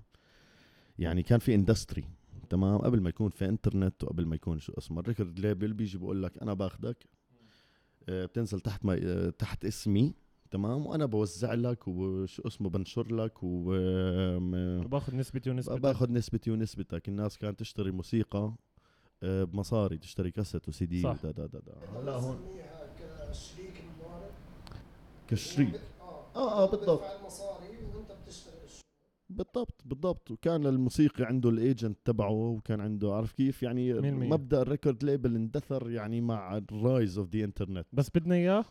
S2: يعني كان في اندستري تمام قبل ما يكون في انترنت وقبل ما يكون شو اسمه الريكورد ليبل بيجي بقول لك انا باخدك آه، بتنزل تحت ما آه، تحت اسمي تمام وانا بوزع لك وشو اسمه بنشر لك و آم، آه،
S1: باخذ نسبتي ونسبتك
S2: نعم. باخذ نسبتي ونسبتك الناس كانت تشتري موسيقى آه، بمصاري تشتري كاسيت وسي دي
S1: صح.
S2: ودا دا دا دا.
S3: هلا هون كشريك المبارك
S2: كشريك
S3: اه
S2: آه، آه، بالضبط.
S3: بدفع المصاري وانت بتشتري الشغل
S2: بالضبط بالضبط وكان الموسيقي عنده الايجنت تبعه وكان عنده عارف كيف يعني
S1: 100%.
S2: مبدا الريكورد ليبل اندثر يعني مع الرايز اوف ذا انترنت
S1: بس بدنا اياه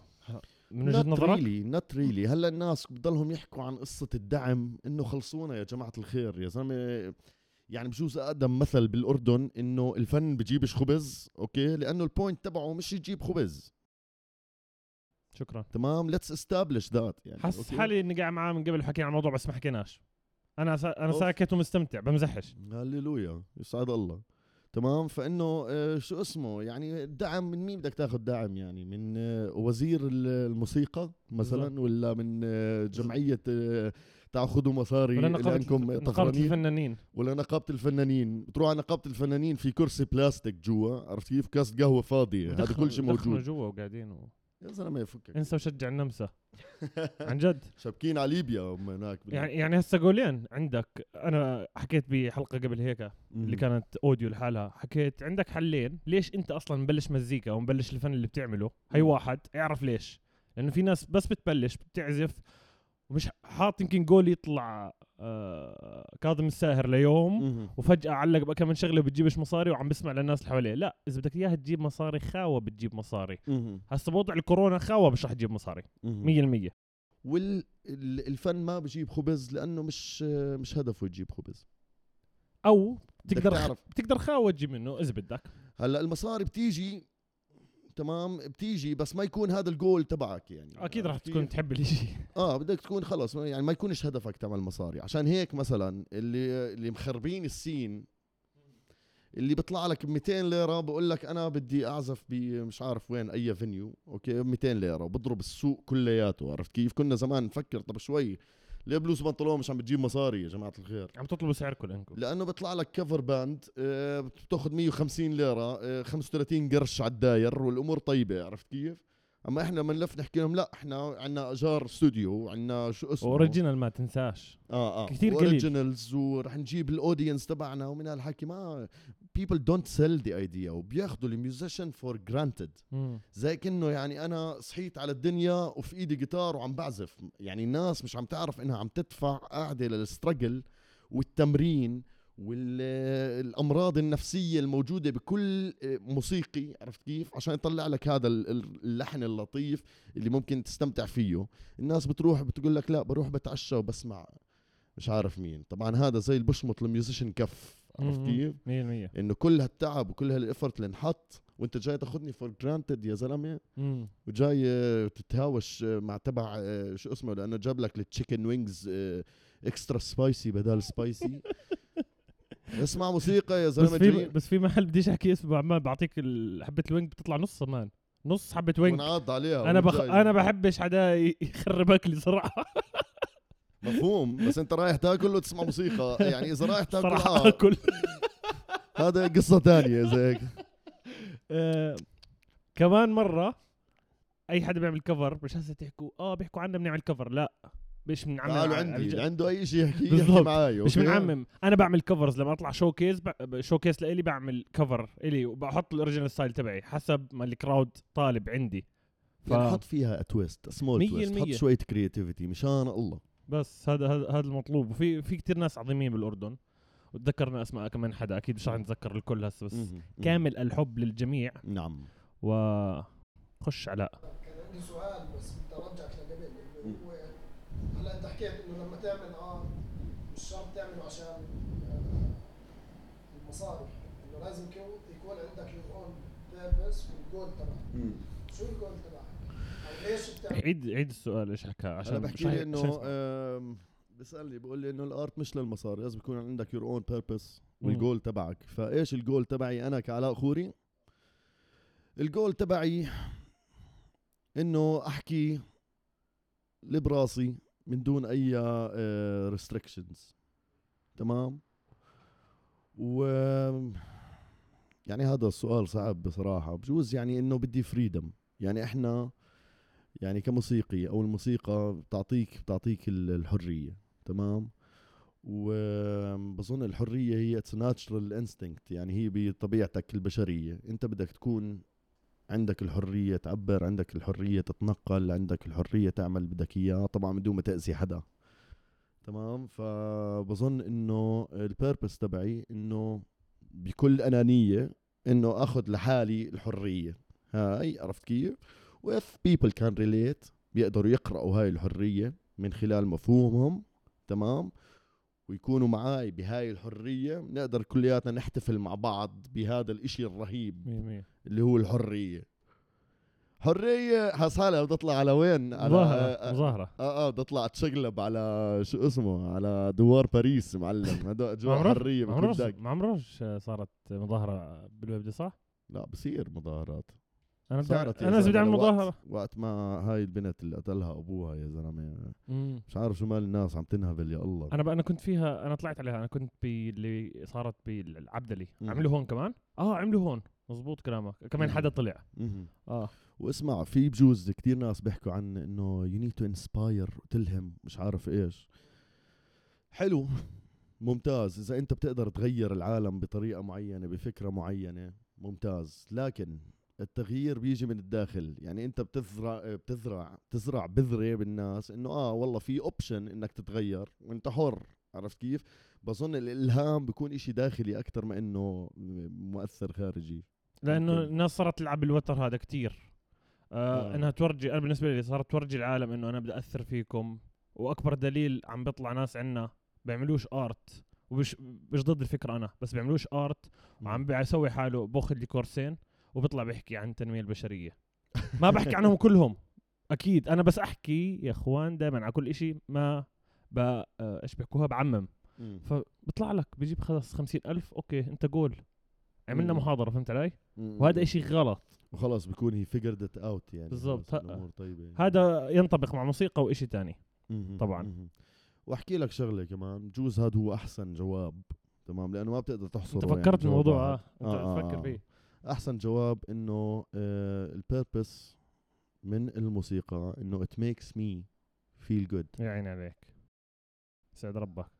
S1: من وجهه نظرك
S2: ريلي نوت ريلي هلا الناس بضلهم يحكوا عن قصه الدعم انه خلصونا يا جماعه الخير يا زلمه يعني بجوز اقدم مثل بالاردن انه الفن بجيبش خبز اوكي لانه البوينت تبعه مش يجيب خبز
S1: شكرا
S2: تمام ليتس استابلش ذات يعني
S1: حس
S2: أوكي؟
S1: حالي اني قاعد معاه من قبل حكينا عن الموضوع بس ما حكيناش انا سا... انا
S2: أوف.
S1: ساكت ومستمتع بمزحش
S2: هللويا يسعد الله تمام فانه آه، شو اسمه يعني الدعم من مين بدك تاخذ دعم يعني من آه، وزير ال- الموسيقى مثلا ولا من آه، جمعيه آه، تاخذوا مصاري
S1: ولا نقابه
S2: لانكم
S1: نقابة
S2: طفرانين
S1: الفنانين
S2: ولا نقابه الفنانين بتروح على نقابه الفنانين في كرسي بلاستيك جوا عرفت كيف كاس قهوه فاضيه هذا كل شيء
S1: دخلوا- دخلوا
S2: موجود
S1: جوا وقاعدين و...
S2: يا زلمه يفكك
S1: انسى وشجع النمسا عن جد
S2: شابكين على ليبيا هم هناك بال-
S1: يعني يعني هسه جولين عندك انا حكيت بحلقه قبل هيك
S2: مم.
S1: اللي كانت اوديو لحالها حكيت عندك حلين ليش انت اصلا مبلش مزيكا او مبلش الفن اللي بتعمله هي
S2: مم.
S1: واحد اعرف ليش لانه في ناس بس بتبلش بتعزف ومش حاط يمكن جول يطلع آه كاظم الساهر ليوم
S2: مهم.
S1: وفجاه علق بقى من شغله بتجيبش مصاري وعم بسمع للناس اللي حواليه لا اذا بدك اياها تجيب مصاري خاوه بتجيب مصاري
S2: مهم.
S1: هسه بوضع الكورونا خاوه مش رح تجيب مصاري
S2: مهم.
S1: 100%
S2: والفن ما بجيب خبز لانه مش مش هدفه يجيب خبز
S1: او
S2: بدك
S1: بتقدر
S2: تعرف.
S1: بتقدر خاوه تجيب منه اذا بدك
S2: هلا المصاري بتيجي تمام بتيجي بس ما يكون هذا الجول تبعك يعني
S1: اكيد رح
S2: عرفت
S1: تكون
S2: كيف؟
S1: تحب الاشي
S2: اه بدك تكون خلص يعني ما يكونش هدفك تعمل مصاري عشان هيك مثلا اللي اللي مخربين السين اللي بيطلع لك ب 200 ليره بقول لك انا بدي اعزف بمش عارف وين اي فينيو اوكي 200 ليره وبضرب السوق كلياته عرفت كيف كنا زمان نفكر طب شوي ليه بلوز بنطلون مش عم بتجيب مصاري يا جماعه الخير
S1: عم تطلبوا سعركم لانكم
S2: لانه بيطلع لك كفر باند آه، بتاخذ 150 ليره آه، 35 قرش على الداير والامور طيبه عرفت كيف؟ اما احنا لما نلف نحكي لهم لا احنا عندنا اجار استوديو عندنا شو اسمه
S1: اوريجينال ما تنساش
S2: اه اه
S1: كتير قليل.
S2: اوريجينالز ورح نجيب الاودينس تبعنا ومن هالحكي ما people don't sell the idea وبياخذوا الميوزيشن فور granted زي كأنه يعني أنا صحيت على الدنيا وفي إيدي جيتار وعم بعزف يعني الناس مش عم تعرف إنها عم تدفع قاعدة للسترجل والتمرين والأمراض النفسية الموجودة بكل موسيقي عرفت كيف عشان يطلع لك هذا ال- ال- اللحن اللطيف اللي ممكن تستمتع فيه الناس بتروح بتقول لك لا بروح بتعشى وبسمع مش عارف مين طبعا هذا زي البشمط الميوزيشن كف عرفت كيف
S1: 100%
S2: انه كل هالتعب وكل هالافرت اللي انحط وانت جاي تاخذني فور جرانتد يا زلمه
S1: مم.
S2: وجاي آه، تتهاوش آه، مع تبع آه، شو اسمه لانه آه، جاب لك التشيكن وينجز اكسترا سبايسي بدل سبايسي اسمع موسيقى يا
S1: بس
S2: زلمه
S1: في
S2: جايين
S1: بس في محل بديش احكي اسمه عمال بعطيك ال- حبه الوينج بتطلع نص مان نص حبه وينج
S2: ونعض عليها
S1: انا بخ...
S2: وجاي.
S1: انا بحبش حدا ي- يخرب اكلي صراحه
S2: مفهوم بس انت رايح تاكل وتسمع موسيقى يعني اذا رايح تاكل
S1: صراحه
S2: آه،
S1: اكل
S2: هذا قصه ثانيه اذا هيك
S1: آه، كمان مره اي حدا بيعمل كفر مش هسه تحكوا اه بيحكوا عنا بنعمل كفر لا مش بنعمم
S2: تعالوا
S1: على-
S2: عندي
S1: الج-
S2: اللي عنده اي شيء يحكي
S1: بالضبط.
S2: يحكي معي
S1: مش
S2: أوكي؟
S1: بنعمم انا بعمل كفرز لما اطلع شو كيس ب... شو كيس لإلي بعمل كفر إلي وبحط الاوريجينال ستايل تبعي حسب ما الكراود طالب عندي ف...
S2: يعني حط فيها تويست سمول
S1: مية
S2: تويست حط
S1: المية.
S2: شويه كرياتيفيتي مشان الله
S1: بس هذا هذا هذا المطلوب وفي في كثير ناس عظيمين بالاردن وتذكرنا اسماء كمان حدا اكيد مش رح نتذكر الكل هسه بس
S2: مهم.
S1: كامل الحب للجميع
S2: نعم
S1: و خش علاء
S3: كان عندي سؤال بس بدي ارجعك لقبل انه هو هلا انت حكيت انه لما تعمل اه مش شرط تعمله عشان آه، المصاري انه لازم يكون يكون عندك يور اون بيربس والجول تبعك شو الجول تبعك؟ او ليش بتعمل
S1: عيد عيد السؤال ايش حكى عشان
S2: انا
S1: مش
S2: بحكي
S1: عارف-
S2: لي آه،
S1: عشان
S2: انه
S1: اسمع.
S2: آم، بيسالني بقول لي انه الارت مش للمصاري لازم يكون عندك يور اون بيربس والجول تبعك فايش الجول تبعي انا كعلاء خوري الجول تبعي انه احكي اللي براسي من دون اي ريستريكشنز تمام و يعني هذا السؤال صعب بصراحه بجوز يعني انه بدي فريدم يعني احنا يعني كموسيقي او الموسيقى بتعطيك بتعطيك ال- الحريه تمام وبظن الحريه هي اتس ناتشرال انستنكت يعني هي بطبيعتك البشريه انت بدك تكون عندك الحريه تعبر عندك الحريه تتنقل عندك الحريه تعمل بدك اياه طبعا بدون ما تاذي حدا تمام فبظن انه البيربس تبعي انه بكل انانيه انه اخذ لحالي الحريه هاي عرفت كيف واف بيبل كان ريليت بيقدروا يقرأوا هاي الحرية من خلال مفهومهم تمام ويكونوا معاي بهاي الحرية نقدر كلياتنا نحتفل مع بعض بهذا الاشي الرهيب
S1: مية مية.
S2: اللي هو الحرية حرية حصالة بتطلع على وين؟ على
S1: مظاهرة
S2: اه
S1: مظاهرة
S2: اه بتطلع تشقلب على شو اسمه على دوار باريس معلم هدول
S1: ما
S2: اجواء
S1: عمره
S2: حرية
S1: ما عمره-
S2: بكل دق
S1: ما عمره آه، صارت مظاهرة بالويب دي صح؟
S2: لا بصير مظاهرات
S1: انا بدي
S2: صارت يا
S1: انا لازم بدي اعمل
S2: زلمة وقت-
S1: مظاهرة
S2: وقت ما هاي البنت اللي قتلها ابوها يا زلمه
S1: مم.
S2: مش عارف شو مال الناس عم تنهبل يا الله
S1: انا بقى انا كنت فيها انا طلعت عليها انا كنت باللي صارت بالعبدلي
S2: مم.
S1: عملوا هون كمان اه عملوا هون مزبوط كلامك كمان
S2: مم. آه.
S1: حدا طلع
S2: مهم.
S1: اه
S2: واسمع في بجوز كتير ناس بيحكوا عن انه يو نيد تو انسباير تلهم مش عارف ايش حلو ممتاز اذا انت بتقدر تغير العالم بطريقه معينه بفكره معينه ممتاز لكن التغيير بيجي من الداخل يعني انت بتزرع بتزرع تزرع بذره بالناس انه اه والله في اوبشن انك تتغير وانت حر عرفت كيف بظن الالهام بيكون إشي داخلي اكثر ما انه مؤثر خارجي
S1: لانه
S2: ممكن.
S1: الناس صارت تلعب بالوتر هذا كتير آه
S2: آه.
S1: انها تورجي انا بالنسبه لي صارت تورجي العالم انه انا بدي اثر فيكم واكبر دليل عم بيطلع ناس عنا بيعملوش ارت ومش مش ضد الفكره انا بس بيعملوش ارت وعم بيسوي حاله باخذ لي كورسين وبيطلع بيحكي عن التنميه البشريه ما بحكي عنهم كلهم اكيد انا بس احكي يا اخوان دائما على كل إشي ما ب... آه، ايش بيحكوها بعمم
S2: مم.
S1: فبطلع لك بجيب خلص خمسين ألف اوكي انت جول عملنا
S2: مم.
S1: محاضره فهمت علي
S2: مم.
S1: وهذا إشي غلط
S2: وخلاص بكون هي فيجرد ات اوت يعني
S1: بالضبط.
S2: خلاص
S1: ه-
S2: الامور طيبه يعني.
S1: هذا ينطبق مع موسيقى وإشي تاني
S2: مهم.
S1: طبعاً.
S2: مهم. واحكي لك شغله كمان بجوز هذا هو احسن جواب تمام لانه ما بتقدر تحصره
S1: انت
S2: يعني
S1: فكرت
S2: جواب
S1: الموضوع
S2: واحد.
S1: اه انت
S2: آه، آه،
S1: تفكر
S2: آه.
S1: فيه
S2: احسن جواب انه البيربس من الموسيقى انه it makes me feel good
S1: يا عيني عليك سعد ربك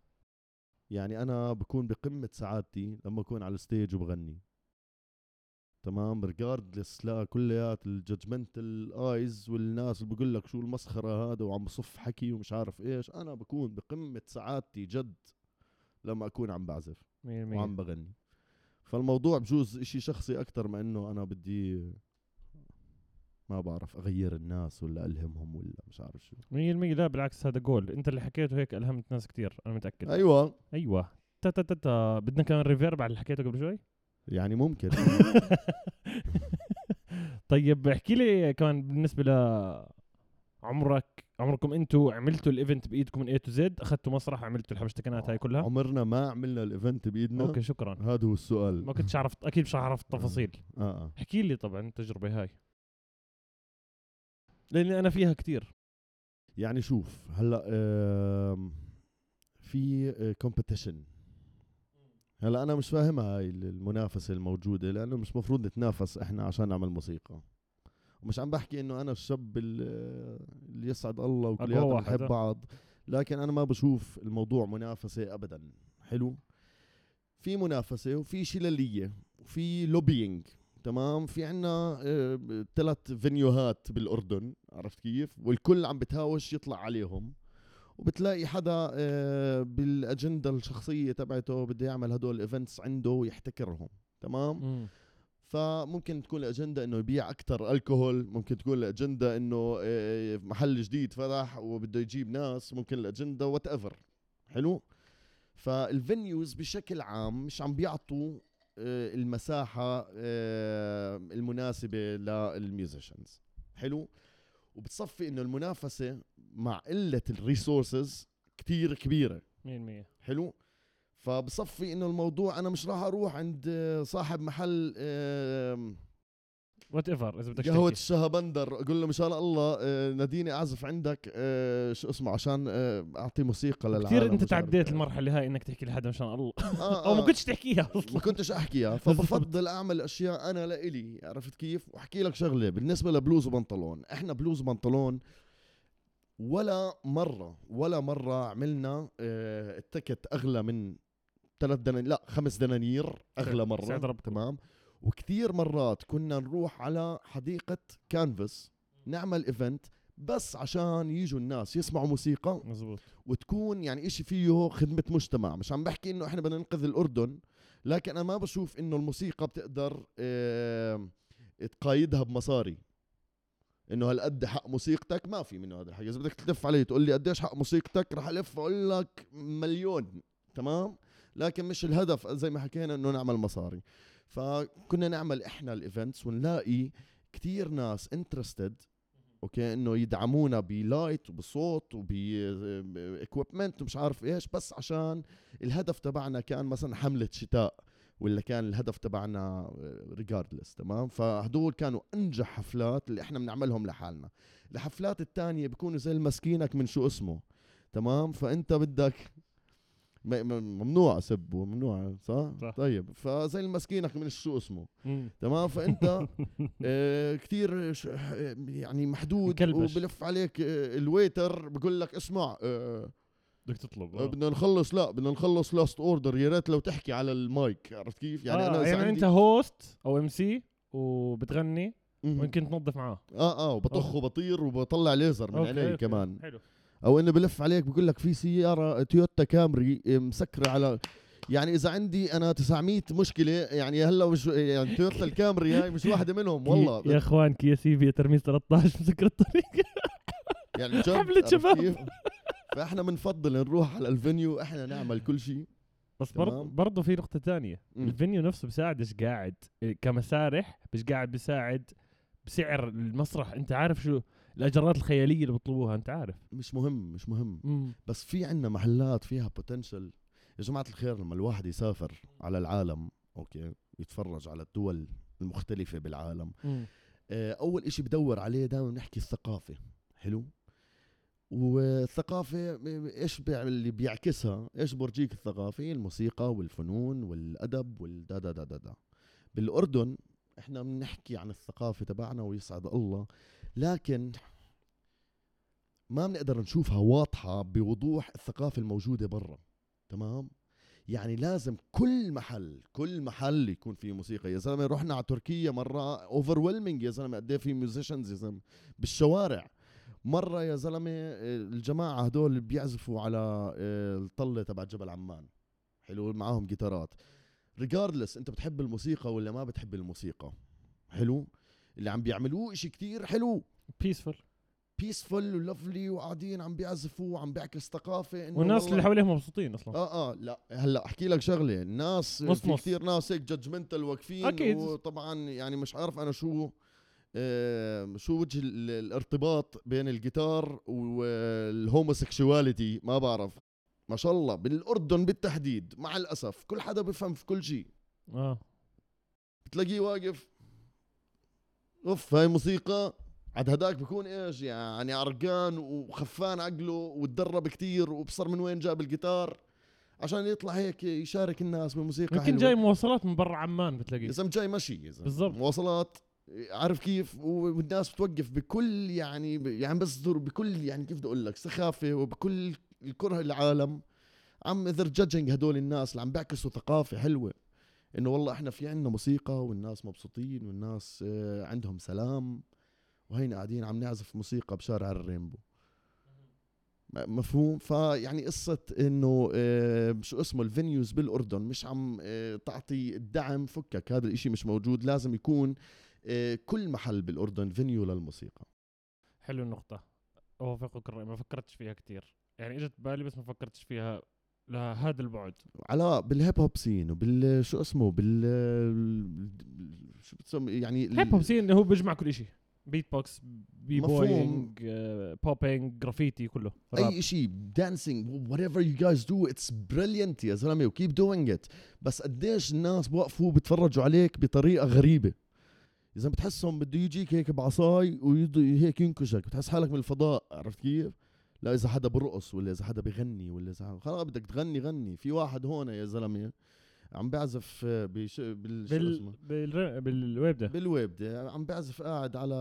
S2: يعني انا بكون بقمه سعادتي لما اكون على الستيج وبغني تمام ريجاردلس لكليات الجادجمنت الايز والناس اللي بقول لك شو المسخره هذا وعم بصف حكي ومش عارف ايش انا بكون بقمه سعادتي جد لما اكون عم بعزف
S1: 100%
S2: وعم بغني فالموضوع بجوز اشي شخصي اكثر ما انه انا بدي ما بعرف اغير الناس ولا الهمهم ولا مش عارف شو
S1: 100% لا بالعكس هذا جول انت اللي حكيته هيك الهمت ناس كتير انا متاكد
S2: ايوه
S1: ايوه تا تا تا تا بدنا كمان ريفيرب على اللي حكيته قبل شوي
S2: يعني ممكن
S1: طيب احكي لي كمان بالنسبه ل عمرك عمركم انتوا عملتوا الايفنت بايدكم من اي تو زد اخذتوا مسرح عملتوا الحبشتكنات هاي كلها
S2: عمرنا ما عملنا الايفنت بايدنا
S1: اوكي شكرا
S2: هذا هو السؤال
S1: ما كنتش عرفت اكيد مش عرفت التفاصيل
S2: اه اه
S1: احكي لي طبعا التجربه هاي لاني انا فيها كتير
S2: يعني شوف هلا آم، في آه، كومبيتيشن هلا انا مش فاهمها هاي المنافسه الموجوده لانه مش مفروض نتنافس احنا عشان نعمل موسيقى ومش عم بحكي انه انا الشاب ال- اللي يسعد الله وكلياتنا
S1: واحد،
S2: بنحب
S1: آه.
S2: بعض لكن انا ما بشوف الموضوع منافسه ابدا حلو في منافسه وفي شلاليه وفي لوبينج تمام في عنا ثلاث فينيوهات بالاردن عرفت كيف والكل عم بتهاوش يطلع عليهم وبتلاقي حدا آه، بالاجنده الشخصيه تبعته بده يعمل هدول الايفنتس عنده ويحتكرهم تمام فممكن تكون الاجنده انه يبيع اكثر الكحول ممكن تكون الاجنده انه آه، محل جديد فتح وبده يجيب ناس ممكن الاجنده وات ايفر حلو فالفنيوز بشكل عام مش عم بيعطوا آه، المساحه آه، المناسبه للميوزيشنز حلو وبتصفي انه المنافسه مع قله الريسورسز كتير كبيره
S1: 100%
S2: حلو فبصفي انه الموضوع انا مش راح اروح عند آه، صاحب محل آم،
S1: وات ايفر اذا بدك
S2: قهوه
S1: تحكي.
S2: الشهبندر اقول له ان شاء الله آه، ناديني اعزف عندك آه، شو اسمه عشان آه، اعطي موسيقى للعالم
S1: كثير انت
S2: مش عارف
S1: تعديت
S2: إيه.
S1: المرحله هاي انك تحكي لحدا مشان الله
S2: آه،
S1: او
S2: آه.
S1: ما كنتش تحكيها
S2: ما
S1: اصلا
S2: كنتش احكيها فبفضل اعمل اشياء انا لإلي عرفت كيف واحكي لك شغله بالنسبه لبلوز وبنطلون احنا بلوز وبنطلون ولا مره ولا مره عملنا آه، التكت اغلى من ثلاث دنانير لا خمس دنانير اغلى
S1: سعر
S2: مره
S1: ربكم.
S2: تمام وكثير مرات كنا نروح على حديقه كانفاس نعمل ايفنت بس عشان يجوا الناس يسمعوا موسيقى
S1: مزبوط
S2: وتكون يعني إشي فيه خدمة مجتمع مش عم بحكي إنه إحنا بدنا ننقذ الأردن لكن أنا ما بشوف إنه الموسيقى بتقدر آه، تقايدها بمصاري إنه هالقد حق موسيقتك ما في منه هذا الحكي إذا بدك تلف علي تقول لي قديش حق موسيقتك رح ألف أقول لك مليون تمام لكن مش الهدف زي ما حكينا إنه نعمل مصاري فكنا نعمل إحنا الإيفنتس ونلاقي كتير ناس انترستد اوكي انه يدعمونا بلايت وبصوت وباكويبمنت ومش عارف ايش بس عشان الهدف تبعنا كان مثلا حمله شتاء ولا كان الهدف تبعنا ريجاردلس تمام فهدول كانوا انجح حفلات اللي احنا بنعملهم لحالنا الحفلات التانية بيكونوا زي المسكينك من شو اسمه تمام فانت بدك م- م- ممنوع سب وممنوع صح؟,
S1: صح.
S2: طيب فزي المسكينك من شو اسمه تمام فانت آه كثير يعني محدود
S1: مكلبش.
S2: وبلف عليك آه، الويتر بقول لك اسمع آه،
S1: بدك تطلب
S2: آه، بدنا نخلص لا بدنا نخلص لاست اوردر يا ريت لو تحكي على المايك عرفت كيف يعني
S1: يعني,
S2: انا
S1: آه
S2: إذا
S1: يعني
S2: عندي-
S1: انت هوست او ام سي وبتغني
S2: مهم.
S1: ويمكن تنظف معاه
S2: اه اه وبطخ
S1: أوكي.
S2: وبطير وبطلع ليزر من
S1: أوكي،
S2: عيني
S1: أوكي.
S2: كمان
S1: حلو
S2: او انه بلف عليك بقول لك في سياره تويوتا كامري آه، مسكره على يعني اذا عندي انا 900 مشكله يعني هلا مش يعني تويوتا الكامري هاي مش واحده منهم والله
S1: يا اخوان كيا سيفيا ترميز 13 مسكر الطريق
S2: يعني جد
S1: حفلة
S2: عرفت
S1: شباب.
S2: كيف؟ فاحنا بنفضل نروح على الفينيو احنا نعمل كل شيء
S1: بس
S2: تمام.
S1: برضه برضه في نقطه تانية
S2: مم.
S1: الفينيو نفسه بيساعدش قاعد إيه، كمسارح مش قاعد بيساعد بسعر المسرح انت عارف شو الاجرات الخياليه اللي بيطلبوها انت عارف
S2: مش مهم مش مهم بس في عنا محلات فيها بوتنشل يا جماعة الخير لما الواحد يسافر على العالم اوكي يتفرج على الدول المختلفة بالعالم
S1: مم.
S2: آه، اول اشي بدور عليه دائما بنحكي الثقافة حلو والثقافة م- ايش بيع- اللي بيعكسها ايش برجيك الثقافة هي الموسيقى والفنون والادب والدا دا دا دا دا بالاردن احنا بنحكي عن الثقافة تبعنا ويسعد الله لكن ما بنقدر نشوفها واضحة بوضوح الثقافة الموجودة برا تمام يعني لازم كل محل كل محل يكون فيه موسيقى يا زلمه رحنا على تركيا مره اوفرولمينج يا زلمه قد ايه في ميوزيشنز يا زلمه بالشوارع مره يا زلمه آه، الجماعه هدول اللي بيعزفوا على آه، الطله تبع جبل عمان حلو معاهم جيتارات ريجاردلس انت بتحب الموسيقى ولا ما بتحب الموسيقى حلو اللي عم بيعملوه شيء كتير حلو
S1: بيسفول
S2: بيسفل ولفلي وقاعدين عم بيعزفوا وعم بيعكس ثقافه إنه
S1: والناس
S2: والله-
S1: اللي حواليهم مبسوطين اصلا
S2: اه اه لا هلا احكي لك شغله الناس
S1: نص
S2: في
S1: نص.
S2: كثير ناس هيك جادجمنتال واقفين
S1: أكيد.
S2: وطبعا يعني مش عارف انا شو آم، شو وجه ال- الارتباط بين الجيتار والهوموسيكشواليتي ما بعرف ما شاء الله بالاردن بالتحديد مع الاسف كل حدا بفهم في كل شيء
S1: اه
S2: بتلاقيه واقف اوف هاي موسيقى عاد هداك بكون ايش يعني عرقان وخفان عقله وتدرب كتير وبصر من وين جاب الجيتار عشان يطلع هيك يشارك الناس بموسيقى
S1: يمكن
S2: حلوة.
S1: جاي مواصلات من برا عمان بتلاقيه
S2: يا زلمه جاي مشي يا زلمه
S1: بالضبط.
S2: مواصلات عارف كيف و- والناس بتوقف بكل يعني ب- يعني بصدر بكل يعني كيف بدي اقول لك سخافه وبكل الكره العالم عم اذر جادجنج هدول الناس اللي عم بيعكسوا ثقافه حلوه انه والله احنا في عندنا موسيقى والناس مبسوطين والناس آه، عندهم سلام وهينا قاعدين عم نعزف موسيقى بشارع الرينبو م- مفهوم فيعني قصة انه آه، شو اسمه الفينيوز بالاردن مش عم آه، تعطي الدعم فكك هذا الاشي مش موجود لازم يكون آه، كل محل بالاردن فينيو للموسيقى
S1: حلو النقطة أوافقك الرأي ما فكرتش فيها كتير يعني إجت ببالي بس ما فكرتش فيها لهذا البعد
S2: على بالهيب هوب سين وبال شو اسمه بال ال- شو بتسمي يعني ال-
S1: الهيب هوب سين هو بيجمع كل إشي بيت بوكس بي
S2: مفهوم.
S1: بوينج آه، بوبينج جرافيتي كله راب.
S2: اي شيء دانسينج وات ايفر يو جايز دو اتس بريليانت يا زلمه وكيب دوينج ات بس قديش الناس بوقفوا بتفرجوا عليك بطريقه غريبه اذا بتحسهم بده يجيك هيك بعصاي ويض- هيك ينكشك بتحس حالك من الفضاء عرفت كيف لا اذا حدا برقص ولا اذا حدا بغني ولا اذا حدا- خلاص بدك تغني غني في واحد هون يا زلمه عم بعزف آه، بش... بال... شو
S1: بال
S2: اسمه؟
S1: بالر- بالويب ده
S2: بالويب ده عم بعزف قاعد على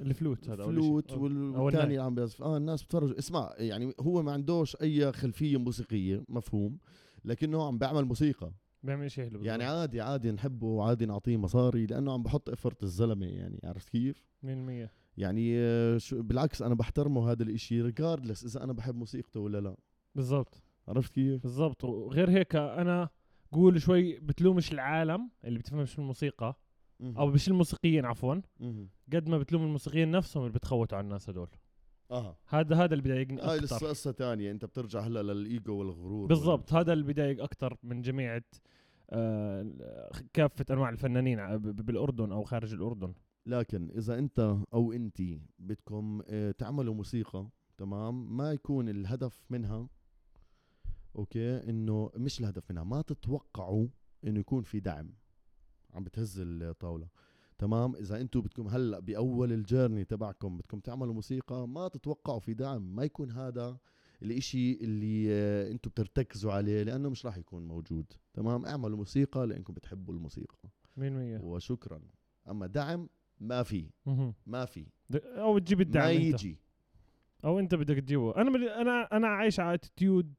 S1: الفلوت هذا أول إشي.
S2: فلوت
S1: آه.
S2: وال-
S1: أول
S2: والثاني
S1: ناي.
S2: اللي عم بيصف اه الناس بتفرج اسمع يعني هو ما عندوش اي خلفيه موسيقيه مفهوم لكنه عم بيعمل موسيقى
S1: بيعمل إشي حلو
S2: يعني عادي عادي نحبه وعادي نعطيه مصاري لانه عم بحط افرت الزلمه يعني عرفت كيف
S1: 100%
S2: يعني آه، شو بالعكس انا بحترمه هذا الاشي ريجاردلس اذا انا بحب موسيقته ولا لا
S1: بالضبط
S2: عرفت كيف
S1: بالضبط وغير هيك أنا قول شوي بتلومش العالم اللي بتفهمش الموسيقى
S2: مهم.
S1: أو مش الموسيقيين عفوا
S2: مهم.
S1: قد ما بتلوم الموسيقيين نفسهم اللي بتخوتوا على الناس هدول
S2: اه
S1: هذا هذا اللي بيضايقني
S2: هاي
S1: أكثر
S2: لسه قصه ثانيه انت بترجع هلا للايجو والغرور
S1: بالضبط هذا اللي بيضايق اكثر من جميع آه، كافه انواع الفنانين ع- ب- ب- بالاردن او خارج الاردن
S2: لكن اذا انت او انت بدكم آه، تعملوا موسيقى تمام ما يكون الهدف منها اوكي انه مش الهدف منها ما تتوقعوا انه يكون في دعم عم بتهز الطاوله تمام اذا انتم بدكم هلا باول الجيرني تبعكم بدكم تعملوا موسيقى ما تتوقعوا في دعم ما يكون هذا الاشي اللي آه، انتم بترتكزوا عليه لانه مش راح يكون موجود تمام اعملوا موسيقى لانكم بتحبوا الموسيقى
S1: 100%
S2: وشكرا اما دعم ما في
S1: مهم.
S2: ما في
S1: د- او تجيب الدعم
S2: ما
S1: انت
S2: يجي
S1: او انت بدك تجيبه انا بال- انا انا عايش على اتيتيود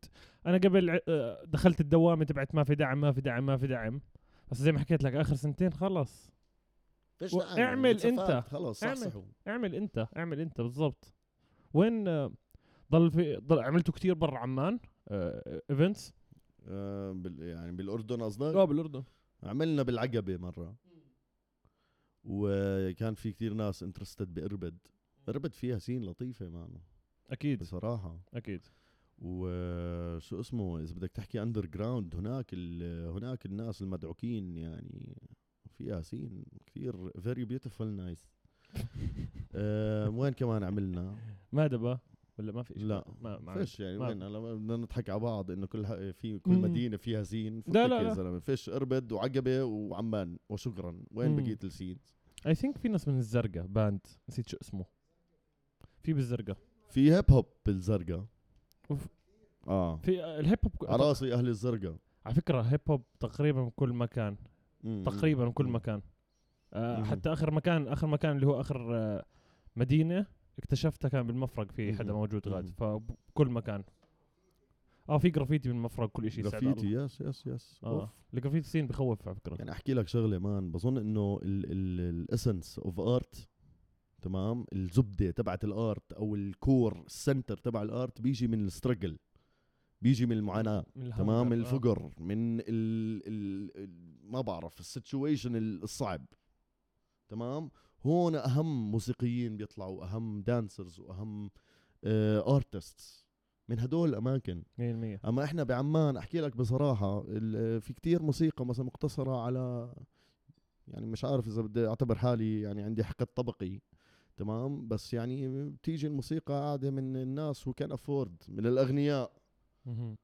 S1: انا قبل ع- آه، دخلت الدوامه تبعت ما في دعم ما في دعم ما في دعم بس زي ما حكيت لك اخر سنتين خلص
S2: فيش
S1: و-
S2: دعم يعني،
S1: اعمل
S2: انسفاق،
S1: انت.
S2: خلص
S1: اعمل.
S2: صحصحوا
S1: اعمل انت اعمل انت بالضبط وين آه، ضل في ضل عملته كثير برا عمان ايفنتس
S2: آه بال يعني بالاردن قصدك
S1: بالاردن
S2: عملنا بالعقبه مره وكان في كتير ناس انترستد باربد اربد فيها سين لطيفه معنا
S1: اكيد
S2: بصراحه
S1: اكيد
S2: وشو اسمه اذا بدك تحكي اندر جراوند هناك ال- هناك الناس المدعوكين يعني في ياسين كثير فيري بيوتيفول نايس آه، وين كمان عملنا
S1: ما دبا ولا ما في إشي؟
S2: لا
S1: ما ما
S2: فيش يعني
S1: ما-
S2: وين هلا بدنا نضحك على بعض انه كل ح- في كل
S1: مم.
S2: مدينه فيها زين فكك
S1: لا، لا،
S2: يا
S1: لا.
S2: زلمه فيش اربد وعقبه وعمان وشكرا وين
S1: مم.
S2: بقيت السين
S1: اي ثينك في ناس من الزرقاء باند نسيت شو اسمه في بالزرقاء
S2: في هيب هوب بالزرقاء
S1: أوف.
S2: اه
S1: في آه، الهيب هوب
S2: على راسي اهل الزرقاء
S1: على فكره هيب هوب تقريبا بكل مكان
S2: مم.
S1: تقريبا بكل
S2: مم.
S1: مكان آه
S2: مم.
S1: حتى اخر مكان اخر مكان اللي هو اخر آه مدينه اكتشفتها كان بالمفرق في حدا
S2: مم.
S1: موجود غاد
S2: مم.
S1: فبكل مكان اه في جرافيتي بالمفرق كل شيء
S2: جرافيتي يس يس يس
S1: اه
S2: اوف
S1: الجرافيتي سين بخوف على فكره
S2: يعني احكي لك شغله مان بظن انه الاسنس اوف ارت تمام الزبده تبعت الارت او الكور السنتر تبع الارت بيجي من السترجل بيجي من المعاناه
S1: من الهنجر،
S2: تمام
S1: آه.
S2: الفقر من ال ال ال- ما بعرف السيتويشن الصعب تمام هون اهم موسيقيين بيطلعوا اهم دانسرز واهم ارتستس آه، من هدول الاماكن
S1: 100%
S2: اما احنا بعمان احكي لك بصراحه ال- في كتير موسيقى مثلا مقتصره على يعني مش عارف اذا بدي اعتبر حالي يعني عندي حقد طبقي تمام بس يعني بتيجي الموسيقى قاعده من الناس هو كان افورد من الاغنياء
S1: مهم.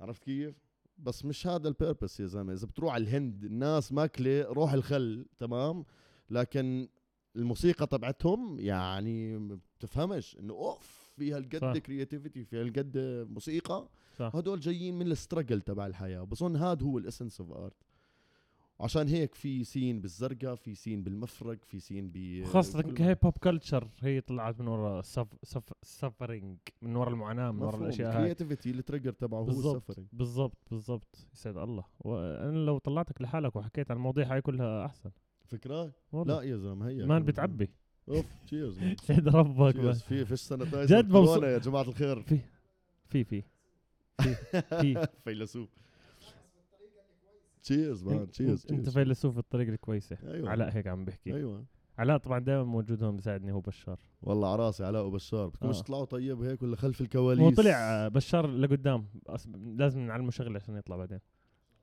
S2: عرفت كيف؟ بس مش هذا البيربس يا زلمه اذا بتروح على الهند الناس ماكله روح الخل تمام لكن الموسيقى تبعتهم يعني ما بتفهمش انه اوف في هالقد
S1: صح.
S2: كرياتيفيتي في هالقد موسيقى
S1: صح.
S2: هدول جايين من السترجل تبع الحياه بظن هذا هو الاسنس اوف ارت عشان هيك في سين بالزرقاء في سين بالمفرق في سين ب
S1: خاصة
S2: كل-
S1: كهيب هوب كلتشر هي طلعت من ورا سف سف سفرنج من ورا المعاناة من ورا
S2: مفهوم
S1: الأشياء هاي
S2: الكرياتيفيتي التريجر تبعه هو
S1: بالضبط
S2: السفرنج
S1: بالضبط بالضبط يسعد الله وانا لو طلعتك لحالك وحكيت عن المواضيع هاي كلها احسن
S2: فكرة لا
S1: والله
S2: يا زلمه هي
S1: لا مان بتعبي
S2: اوف تشيرز مان
S1: سعد ربك
S2: Cheers.
S1: بس
S2: في فيش سنتايزر
S1: جد مبسوط.
S2: كورونا يا جماعه الخير
S1: في في في في.
S2: فيلسوف تشيرز مان تشيرز
S1: انت انت فيلسوف بالطريقه الكويسه
S2: ايوه
S1: علاء هيك عم بحكي
S2: ايوه
S1: علاء طبعا دائما موجود هون بيساعدني هو بشار
S2: والله على راسي علاء وبشار بدكم مش
S1: آه.
S2: تطلعوا طيب هيك ولا خلف الكواليس
S1: هو طلع آه، بشار لقدام أص- لازم نعلمه شغله عشان يطلع بعدين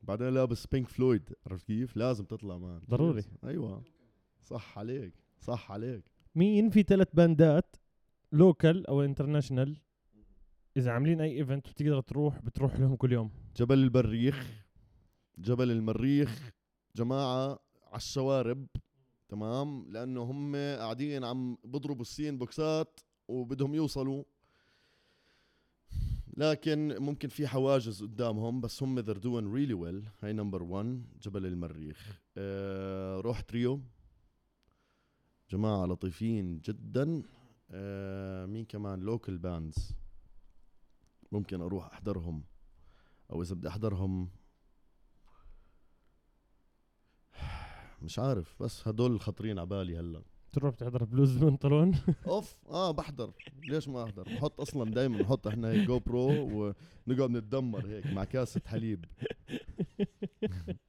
S2: بعدين لابس بينك فلويد عرفت كيف لازم تطلع مان
S1: ضروري.
S2: Cheers. ايوه صح عليك صح عليك
S1: مين في ثلاث باندات لوكال او انترناشنال اذا عاملين اي ايفنت بتقدر تروح بتروح لهم كل يوم
S2: جبل البريخ جبل المريخ جماعة على الشوارب تمام لأنه هم قاعدين عم بضربوا السين بوكسات وبدهم يوصلوا لكن ممكن في حواجز قدامهم بس هم they're doing really well هاي نمبر 1 جبل المريخ آه روح تريو جماعة لطيفين جدا آه مين كمان لوكال باندز ممكن اروح احضرهم او اذا بدي احضرهم مش عارف بس هدول الخطرين على بالي هلا
S1: تروح تحضر بلوز بنطلون
S2: اوف اه بحضر ليش ما احضر بحط اصلا دائما بحط احنا هيك جو برو ونقعد نتدمر هيك مع كاسه حليب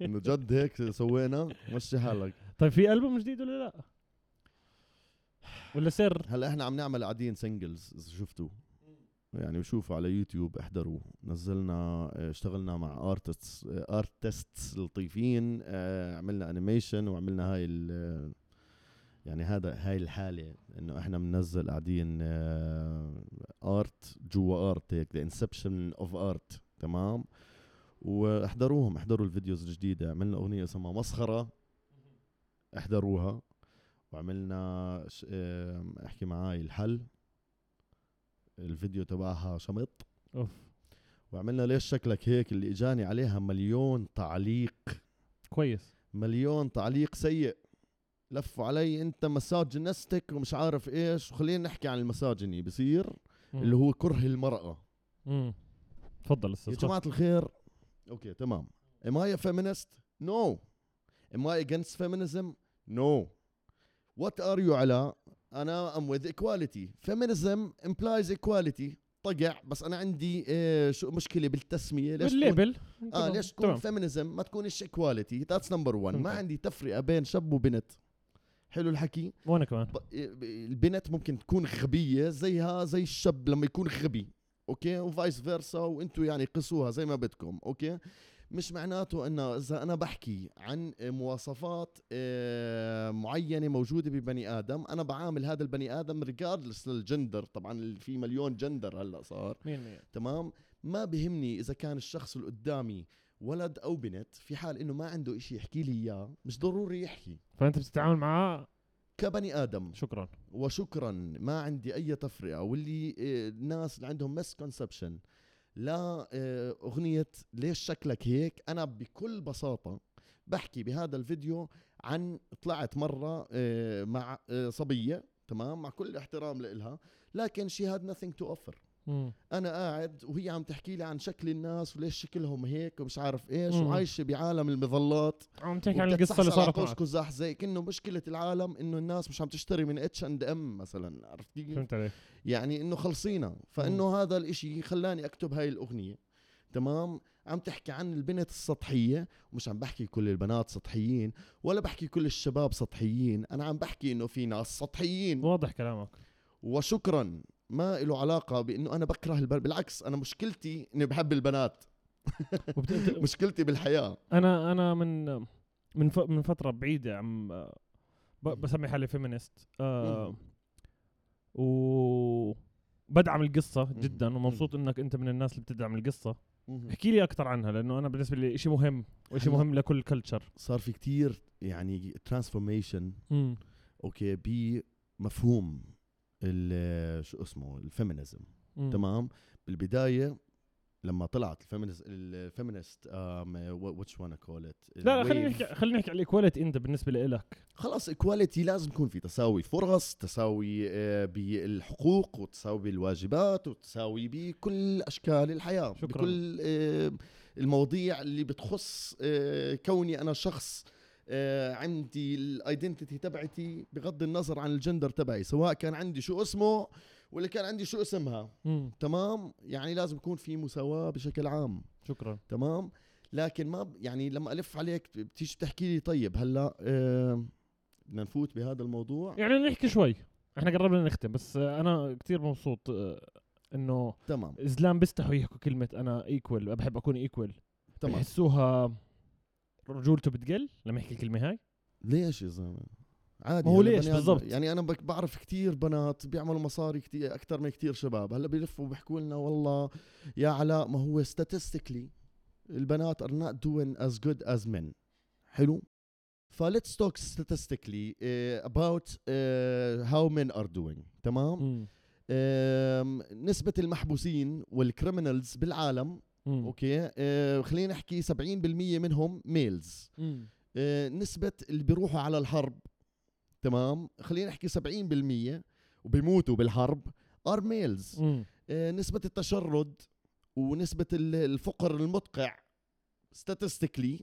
S2: انه جد هيك سوينا مشي حالك
S1: طيب في البوم جديد ولا لا؟ ولا سر؟
S2: هلا احنا عم نعمل قاعدين سنجلز اذا شفتوا يعني شوفوا على يوتيوب احضروا نزلنا اه، اشتغلنا مع ارتستس ارتستس لطيفين اه، عملنا انيميشن وعملنا هاي ال- آه، يعني هذا هاي الحاله انه احنا بننزل قاعدين ارت جوا ارت هيك ذا انسبشن اوف ارت تمام واحضروهم احضروا الفيديوز الجديده عملنا اغنيه اسمها مسخره احضروها وعملنا ش- ام، احكي معاي الحل الفيديو تبعها شمط
S1: اوف
S2: وعملنا ليش شكلك هيك اللي اجاني عليها مليون تعليق
S1: كويس
S2: مليون تعليق سيء لفوا علي انت مساجنستك ومش عارف ايش وخلينا نحكي عن المساجني بصير
S1: مم.
S2: اللي هو كره المرأة
S1: مم. تفضل
S2: يا
S1: استاذ
S2: جماعة الخير اوكي تمام am I a feminist no am I against feminism no what are you علاء انا I'm with equality feminism implies equality طقع بس انا عندي إيه شو مشكله بالتسميه ليش تكون-
S1: الليبل
S2: اه ليش تكون فيمينيزم ما تكونش ايكواليتي ذاتس نمبر 1 ما
S1: فهمت.
S2: عندي تفرقه بين شب وبنت حلو الحكي
S1: وانا كمان
S2: ط- البنت ممكن تكون غبيه زيها زي الشاب لما يكون غبي اوكي وفايس فيرسا وانتوا يعني قسوها زي ما بدكم اوكي مش معناته انه اذا انا بحكي عن مواصفات آه، معينه موجوده ببني ادم انا بعامل هذا البني ادم ريجاردلس للجندر طبعا في مليون جندر هلا صار
S1: 100%
S2: تمام ما بهمني اذا كان الشخص اللي قدامي ولد او بنت في حال انه ما عنده إشي يحكي لي اياه مش ضروري يحكي
S1: فانت بتتعامل معاه
S2: كبني ادم
S1: شكرا
S2: وشكرا ما عندي اي تفرقه واللي آه، الناس اللي عندهم مس كونسبشن لا آه، اغنيه ليش شكلك هيك انا بكل بساطه بحكي بهذا الفيديو عن طلعت مره آه، مع آه، صبيه تمام مع كل احترام لإلها لكن she had nothing to offer
S1: مم.
S2: انا قاعد وهي عم تحكي لي عن شكل الناس وليش شكلهم هيك ومش عارف ايش
S1: مم.
S2: وعايشه بعالم المظلات
S1: عم تحكي عن
S2: وبتتصحصح
S1: القصه يعني اللي
S2: على
S1: صارت
S2: قوس
S1: معك
S2: قزح زي كانه مشكله العالم انه الناس مش عم تشتري من اتش اند ام مثلا عرفت كيف؟
S1: فهمت عليك
S2: يعني انه خلصينا فانه هذا الاشي خلاني اكتب هاي الاغنيه تمام عم تحكي عن البنت السطحية ومش عم بحكي كل البنات سطحيين ولا بحكي كل الشباب سطحيين أنا عم بحكي إنه في ناس سطحيين
S1: واضح كلامك
S2: وشكرا ما له علاقة بإنه أنا بكره البنات بالعكس أنا مشكلتي إني بحب البنات
S1: وبت...
S2: مشكلتي بالحياة
S1: انا انا من من ف... من فتره بعيده عم آه، ب... بسمي حالي فيمينست آه
S2: مم.
S1: و بدعم القصه
S2: مم.
S1: جدا ومبسوط انك انت من الناس اللي بتدعم القصه
S2: مهم.
S1: احكي لي اكثر عنها لانه انا بالنسبه لي إيه، شيء مهم وشيء
S2: هلا-
S1: مهم لكل كلتشر
S2: صار في كتير يعني ترانسفورميشن اوكي بمفهوم ال- شو اسمه الفيمينزم تمام بالبدايه لما طلعت الفيمينست الفيمينست واتش وانا كول ات
S1: لا لا خلينا نحكي خلينا نحكي على الايكواليتي انت بالنسبه لإلك
S2: خلاص ايكواليتي لازم يكون في تساوي فرص تساوي آه، بالحقوق وتساوي بالواجبات وتساوي بكل اشكال الحياه
S1: شكراً.
S2: بكل آه، المواضيع اللي بتخص آه، كوني انا شخص آه، عندي الايدنتيتي تبعتي بغض النظر عن الجندر تبعي سواء كان عندي شو اسمه ولا كان عندي شو اسمها تمام يعني لازم يكون في مساواه بشكل عام
S1: شكرا
S2: تمام لكن ما ب- يعني لما الف عليك بتيجي بتحكي لي طيب هلا آه، بدنا نفوت بهذا الموضوع
S1: يعني نحكي شوي احنا قربنا نختم بس آه، انا كتير مبسوط آه، انه
S2: تمام
S1: زلام بيستحوا يحكوا كلمه انا ايكوال بحب اكون ايكوال
S2: تمام
S1: بحسوها رجولته بتقل لما يحكي الكلمه هاي
S2: ليش يا زلمه عادي
S1: ما هو
S2: هلا
S1: ليش
S2: بني آدم-
S1: بالضبط؟
S2: يعني انا بك- بعرف كتير بنات بيعملوا مصاري كتير اكثر من كتير شباب هلا بيلفوا بيحكوا لنا والله يا علاء ما هو statistically البنات are not doing as good as men حلو فليتس توك statistically uh, about uh, how men are doing تمام أم، نسبة المحبوسين والكريمنالز بالعالم
S1: مم.
S2: اوكي أه، خلينا نحكي 70% منهم ميلز
S1: مم.
S2: أه، نسبة اللي بيروحوا على الحرب تمام خلينا نحكي 70% وبيموتوا بالحرب ار ميلز
S1: مم.
S2: نسبة التشرد ونسبة ال- الفقر المدقع statistically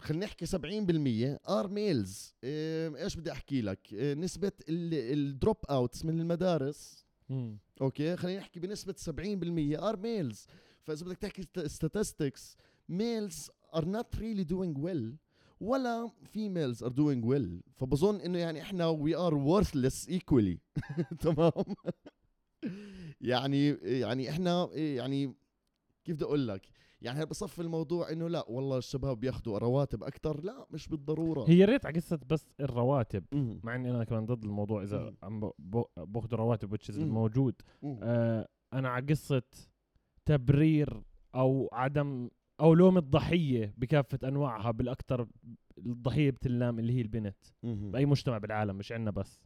S2: خلينا نحكي 70% ار ميلز ايش آه، بدي احكي لك أه، نسبة الدروب اوتس من المدارس
S1: مم.
S2: اوكي خلينا نحكي بنسبه 70% ار ميلز فاذا بدك تحكي statistics ميلز ار نوت ريلي دوينج ويل ولا فيميلز ار دوينج ويل فبظن انه يعني احنا وي ار worthless ايكولي تمام يعني يعني احنا يعني كيف بدي اقول لك يعني هل بصف الموضوع انه لا والله الشباب بياخذوا رواتب اكثر لا مش بالضروره
S1: هي ريت على قصه بس الرواتب
S2: مهم.
S1: مع اني انا كمان ضد الموضوع اذا
S2: مم.
S1: عم ب- ب- باخذ رواتب which is
S2: مم.
S1: موجود
S2: مهم.
S1: آه، انا على قصه تبرير او عدم او لوم الضحيه بكافه انواعها بالاكثر الضحيه بتنلام اللي هي البنت
S2: مهم.
S1: باي مجتمع بالعالم مش عندنا بس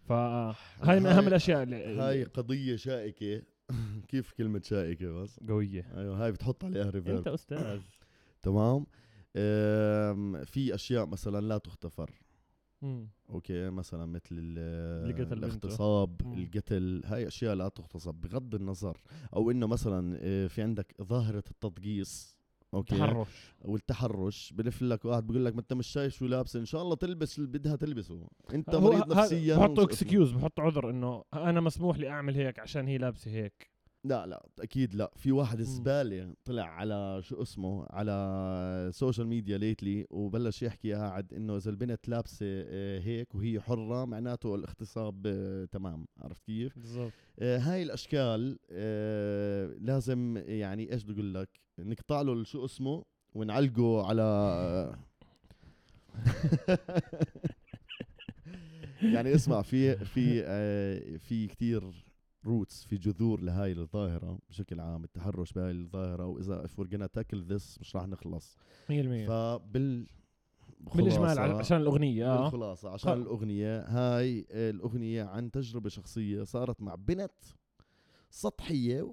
S1: فهاي من اهم الاشياء اللي
S2: هاي قضيه شائكه كيف كلمه شائكه بس
S1: قويه
S2: ايوه هاي بتحط عليها ريفيرب
S1: انت استاذ
S2: تمام أم، في اشياء مثلا لا تغتفر
S1: مم.
S2: اوكي مثلا مثل
S1: اللي
S2: ال-
S1: قتل بنته.
S2: الاغتصاب
S1: مم.
S2: القتل هاي اشياء لا تغتصب بغض النظر او انه مثلا آه، في عندك ظاهره التضقيس اوكي
S1: تحرش
S2: والتحرش بلف لك واحد بقول لك ما انت مش شايف شو لابس ان شاء الله تلبس اللي بدها تلبسه انت
S1: هو
S2: مريض
S1: ه-
S2: نفسيا
S1: بحطوا
S2: وش اسمه.
S1: اكسكيوز بحطوا عذر انه انا مسموح لي اعمل هيك عشان هي لابسه هيك
S2: لا لا اكيد لا في واحد
S1: مم.
S2: زباله طلع على شو اسمه على السوشيال ميديا ليتلي وبلش يحكي قاعد انه اذا البنت لابسه آه، هيك وهي حره معناته الاغتصاب آه، تمام عرفت كيف
S1: بالضبط
S2: آه، هاي الاشكال آه، لازم يعني ايش بدي اقول لك نقطع له شو اسمه ونعلقه على يعني اسمع في في آه، في كتير روتس في جذور لهاي الظاهره بشكل عام التحرش بهاي الظاهره واذا if we're gonna tackle this مش راح نخلص
S1: 100%
S2: فبال
S1: بالاجمال
S2: خلاصة-
S1: على- عشان الاغنيه اه
S2: بالخلاصة عشان
S1: خل-
S2: الأغنية هاي آه، الأغنية عن تجربة شخصية صارت مع بنت سطحية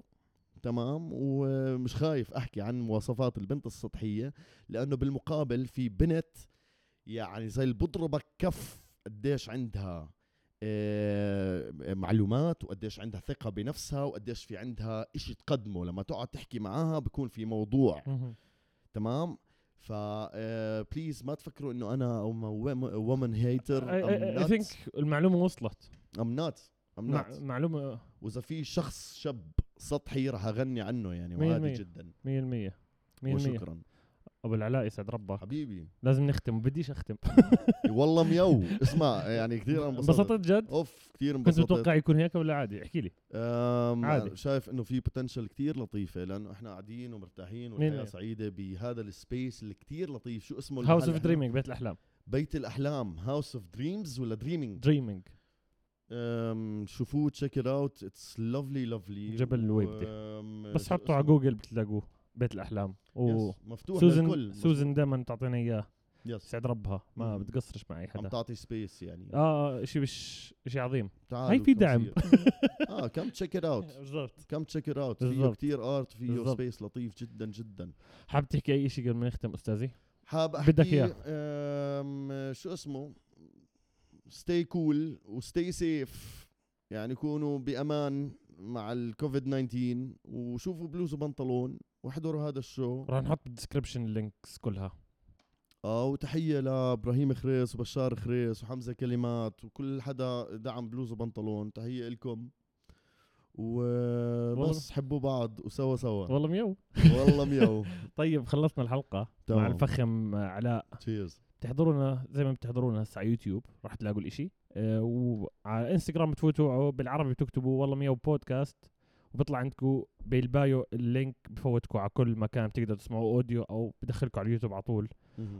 S2: تمام ومش خايف أحكي عن مواصفات البنت السطحية لأنه بالمقابل في بنت يعني زي البضربة كف قديش عندها آه، معلومات وقديش عندها ثقة بنفسها وقديش في عندها إشي تقدمه لما تقعد تحكي معاها بكون في موضوع
S1: مهم.
S2: تمام ف بليز ما تفكروا انه انا وومن هيتر
S1: اي ثينك المعلومه وصلت
S2: ام نوت ام
S1: مع
S2: نوت
S1: معلومه
S2: واذا في شخص شب سطحي راح اغني عنه يعني
S1: مية
S2: وعادي
S1: بالمية.
S2: جدا
S1: 100% 100%
S2: وشكرا
S1: ابو العلاء يسعد ربه
S2: حبيبي
S1: لازم نختم بديش اختم
S2: والله ميو اسمع يعني كثير انبسطت
S1: انبسطت جد
S2: اوف كثير
S1: كنت
S2: انبسطت
S1: متوقع يكون هيك ولا عادي احكي لي
S2: أم،
S1: عادي.
S2: أنا شايف انه في بوتنشل كتير لطيفه لانه احنا قاعدين ومرتاحين
S1: مين
S2: والحياه
S1: هي؟
S2: سعيده بهذا السبيس اللي كتير لطيف شو اسمه
S1: هاوس
S2: المحل
S1: اوف
S2: إحنا؟
S1: دريمينج بيت الاحلام
S2: بيت الاحلام هاوس اوف دريمز ولا دريمينج
S1: دريمينج
S2: شوفوه تشيك ات اوت اتس لافلي لافلي
S1: جبل الويبدة. بس حطوا على جوجل بتلاقوه بيت الاحلام و
S2: مفتوح
S1: سوزن
S2: للكل
S1: سوزن دائما تعطينا اياه
S2: يس
S1: يسعد ربها ما
S2: مم.
S1: بتقصرش مع اي
S2: عم
S1: حدا
S2: تعطي سبيس يعني
S1: اه شيء مش شيء عظيم
S2: تعالوا
S1: هاي في
S2: كم
S1: دعم.
S2: سير. اه كم تشيك ات اوت
S1: بالضبط
S2: كم تشيك ات اوت فيه
S1: بالضبط.
S2: كثير ارت فيه
S1: بالضبط.
S2: سبيس لطيف جدا جدا
S1: حاب تحكي اي شيء قبل ما نختم استاذي
S2: حاب احكي
S1: بدك
S2: بدك
S1: إياه.
S2: اياه شو اسمه ستي كول وستي سيف يعني كونوا بامان مع الكوفيد 19 وشوفوا بلوز وبنطلون واحضروا هذا الشو
S1: راح نحط بالدسكربشن اللينكس كلها
S2: اه وتحيه لابراهيم خريس وبشار خريس وحمزه كلمات وكل حدا دعم بلوز وبنطلون تحيه لكم وبس
S1: والله.
S2: حبوا بعض وسوا سوا
S1: والله ميو
S2: والله ميو
S1: طيب خلصنا الحلقه مع
S2: تمام.
S1: الفخم آه، علاء
S2: تشيرز
S1: بتحضرونا زي ما بتحضرونا هسه على يوتيوب راح تلاقوا الاشي آه، وعلى انستغرام بتفوتوا أو بالعربي بتكتبوا والله مياو بودكاست وبيطلع عندكم بالبايو اللينك بفوتكم على كل مكان بتقدروا تسمعوا اوديو او بدخلكم على اليوتيوب على طول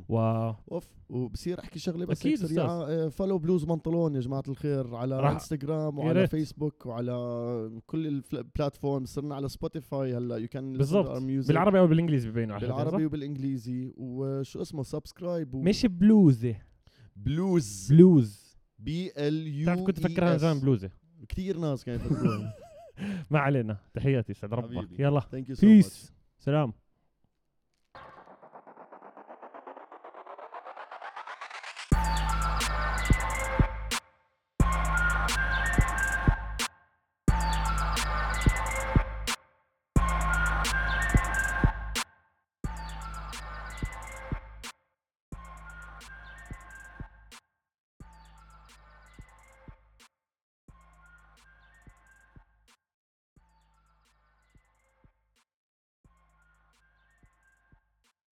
S1: وراح
S2: اوف وبصير احكي شغله بس
S1: أكيد
S2: هيك سريعه فولو بلوز بنطلون يا جماعه الخير على
S1: راح-
S2: راح. انستغرام
S1: يا
S2: وعلى
S1: ريت.
S2: فيسبوك وعلى كل البلاتفورم صرنا على سبوتيفاي هلا يو كان
S1: بالضبط. بالعربي او بالانجليزي ببينوا على الحلقة،
S2: بالعربي
S1: صح؟
S2: وبالانجليزي وشو اسمه سبسكرايب و...
S1: مش بلوزه
S2: بلوز
S1: بلوز
S2: بي ال يو
S1: بتعرف كنت
S2: إي
S1: فكرها
S2: إس.
S1: زمان بلوزه
S2: كثير ناس كانت تقول
S1: ما علينا تحياتي يسعد ربك
S2: حبيبي.
S1: يلا
S2: ثانك يو سو ماتش
S1: بيس سلام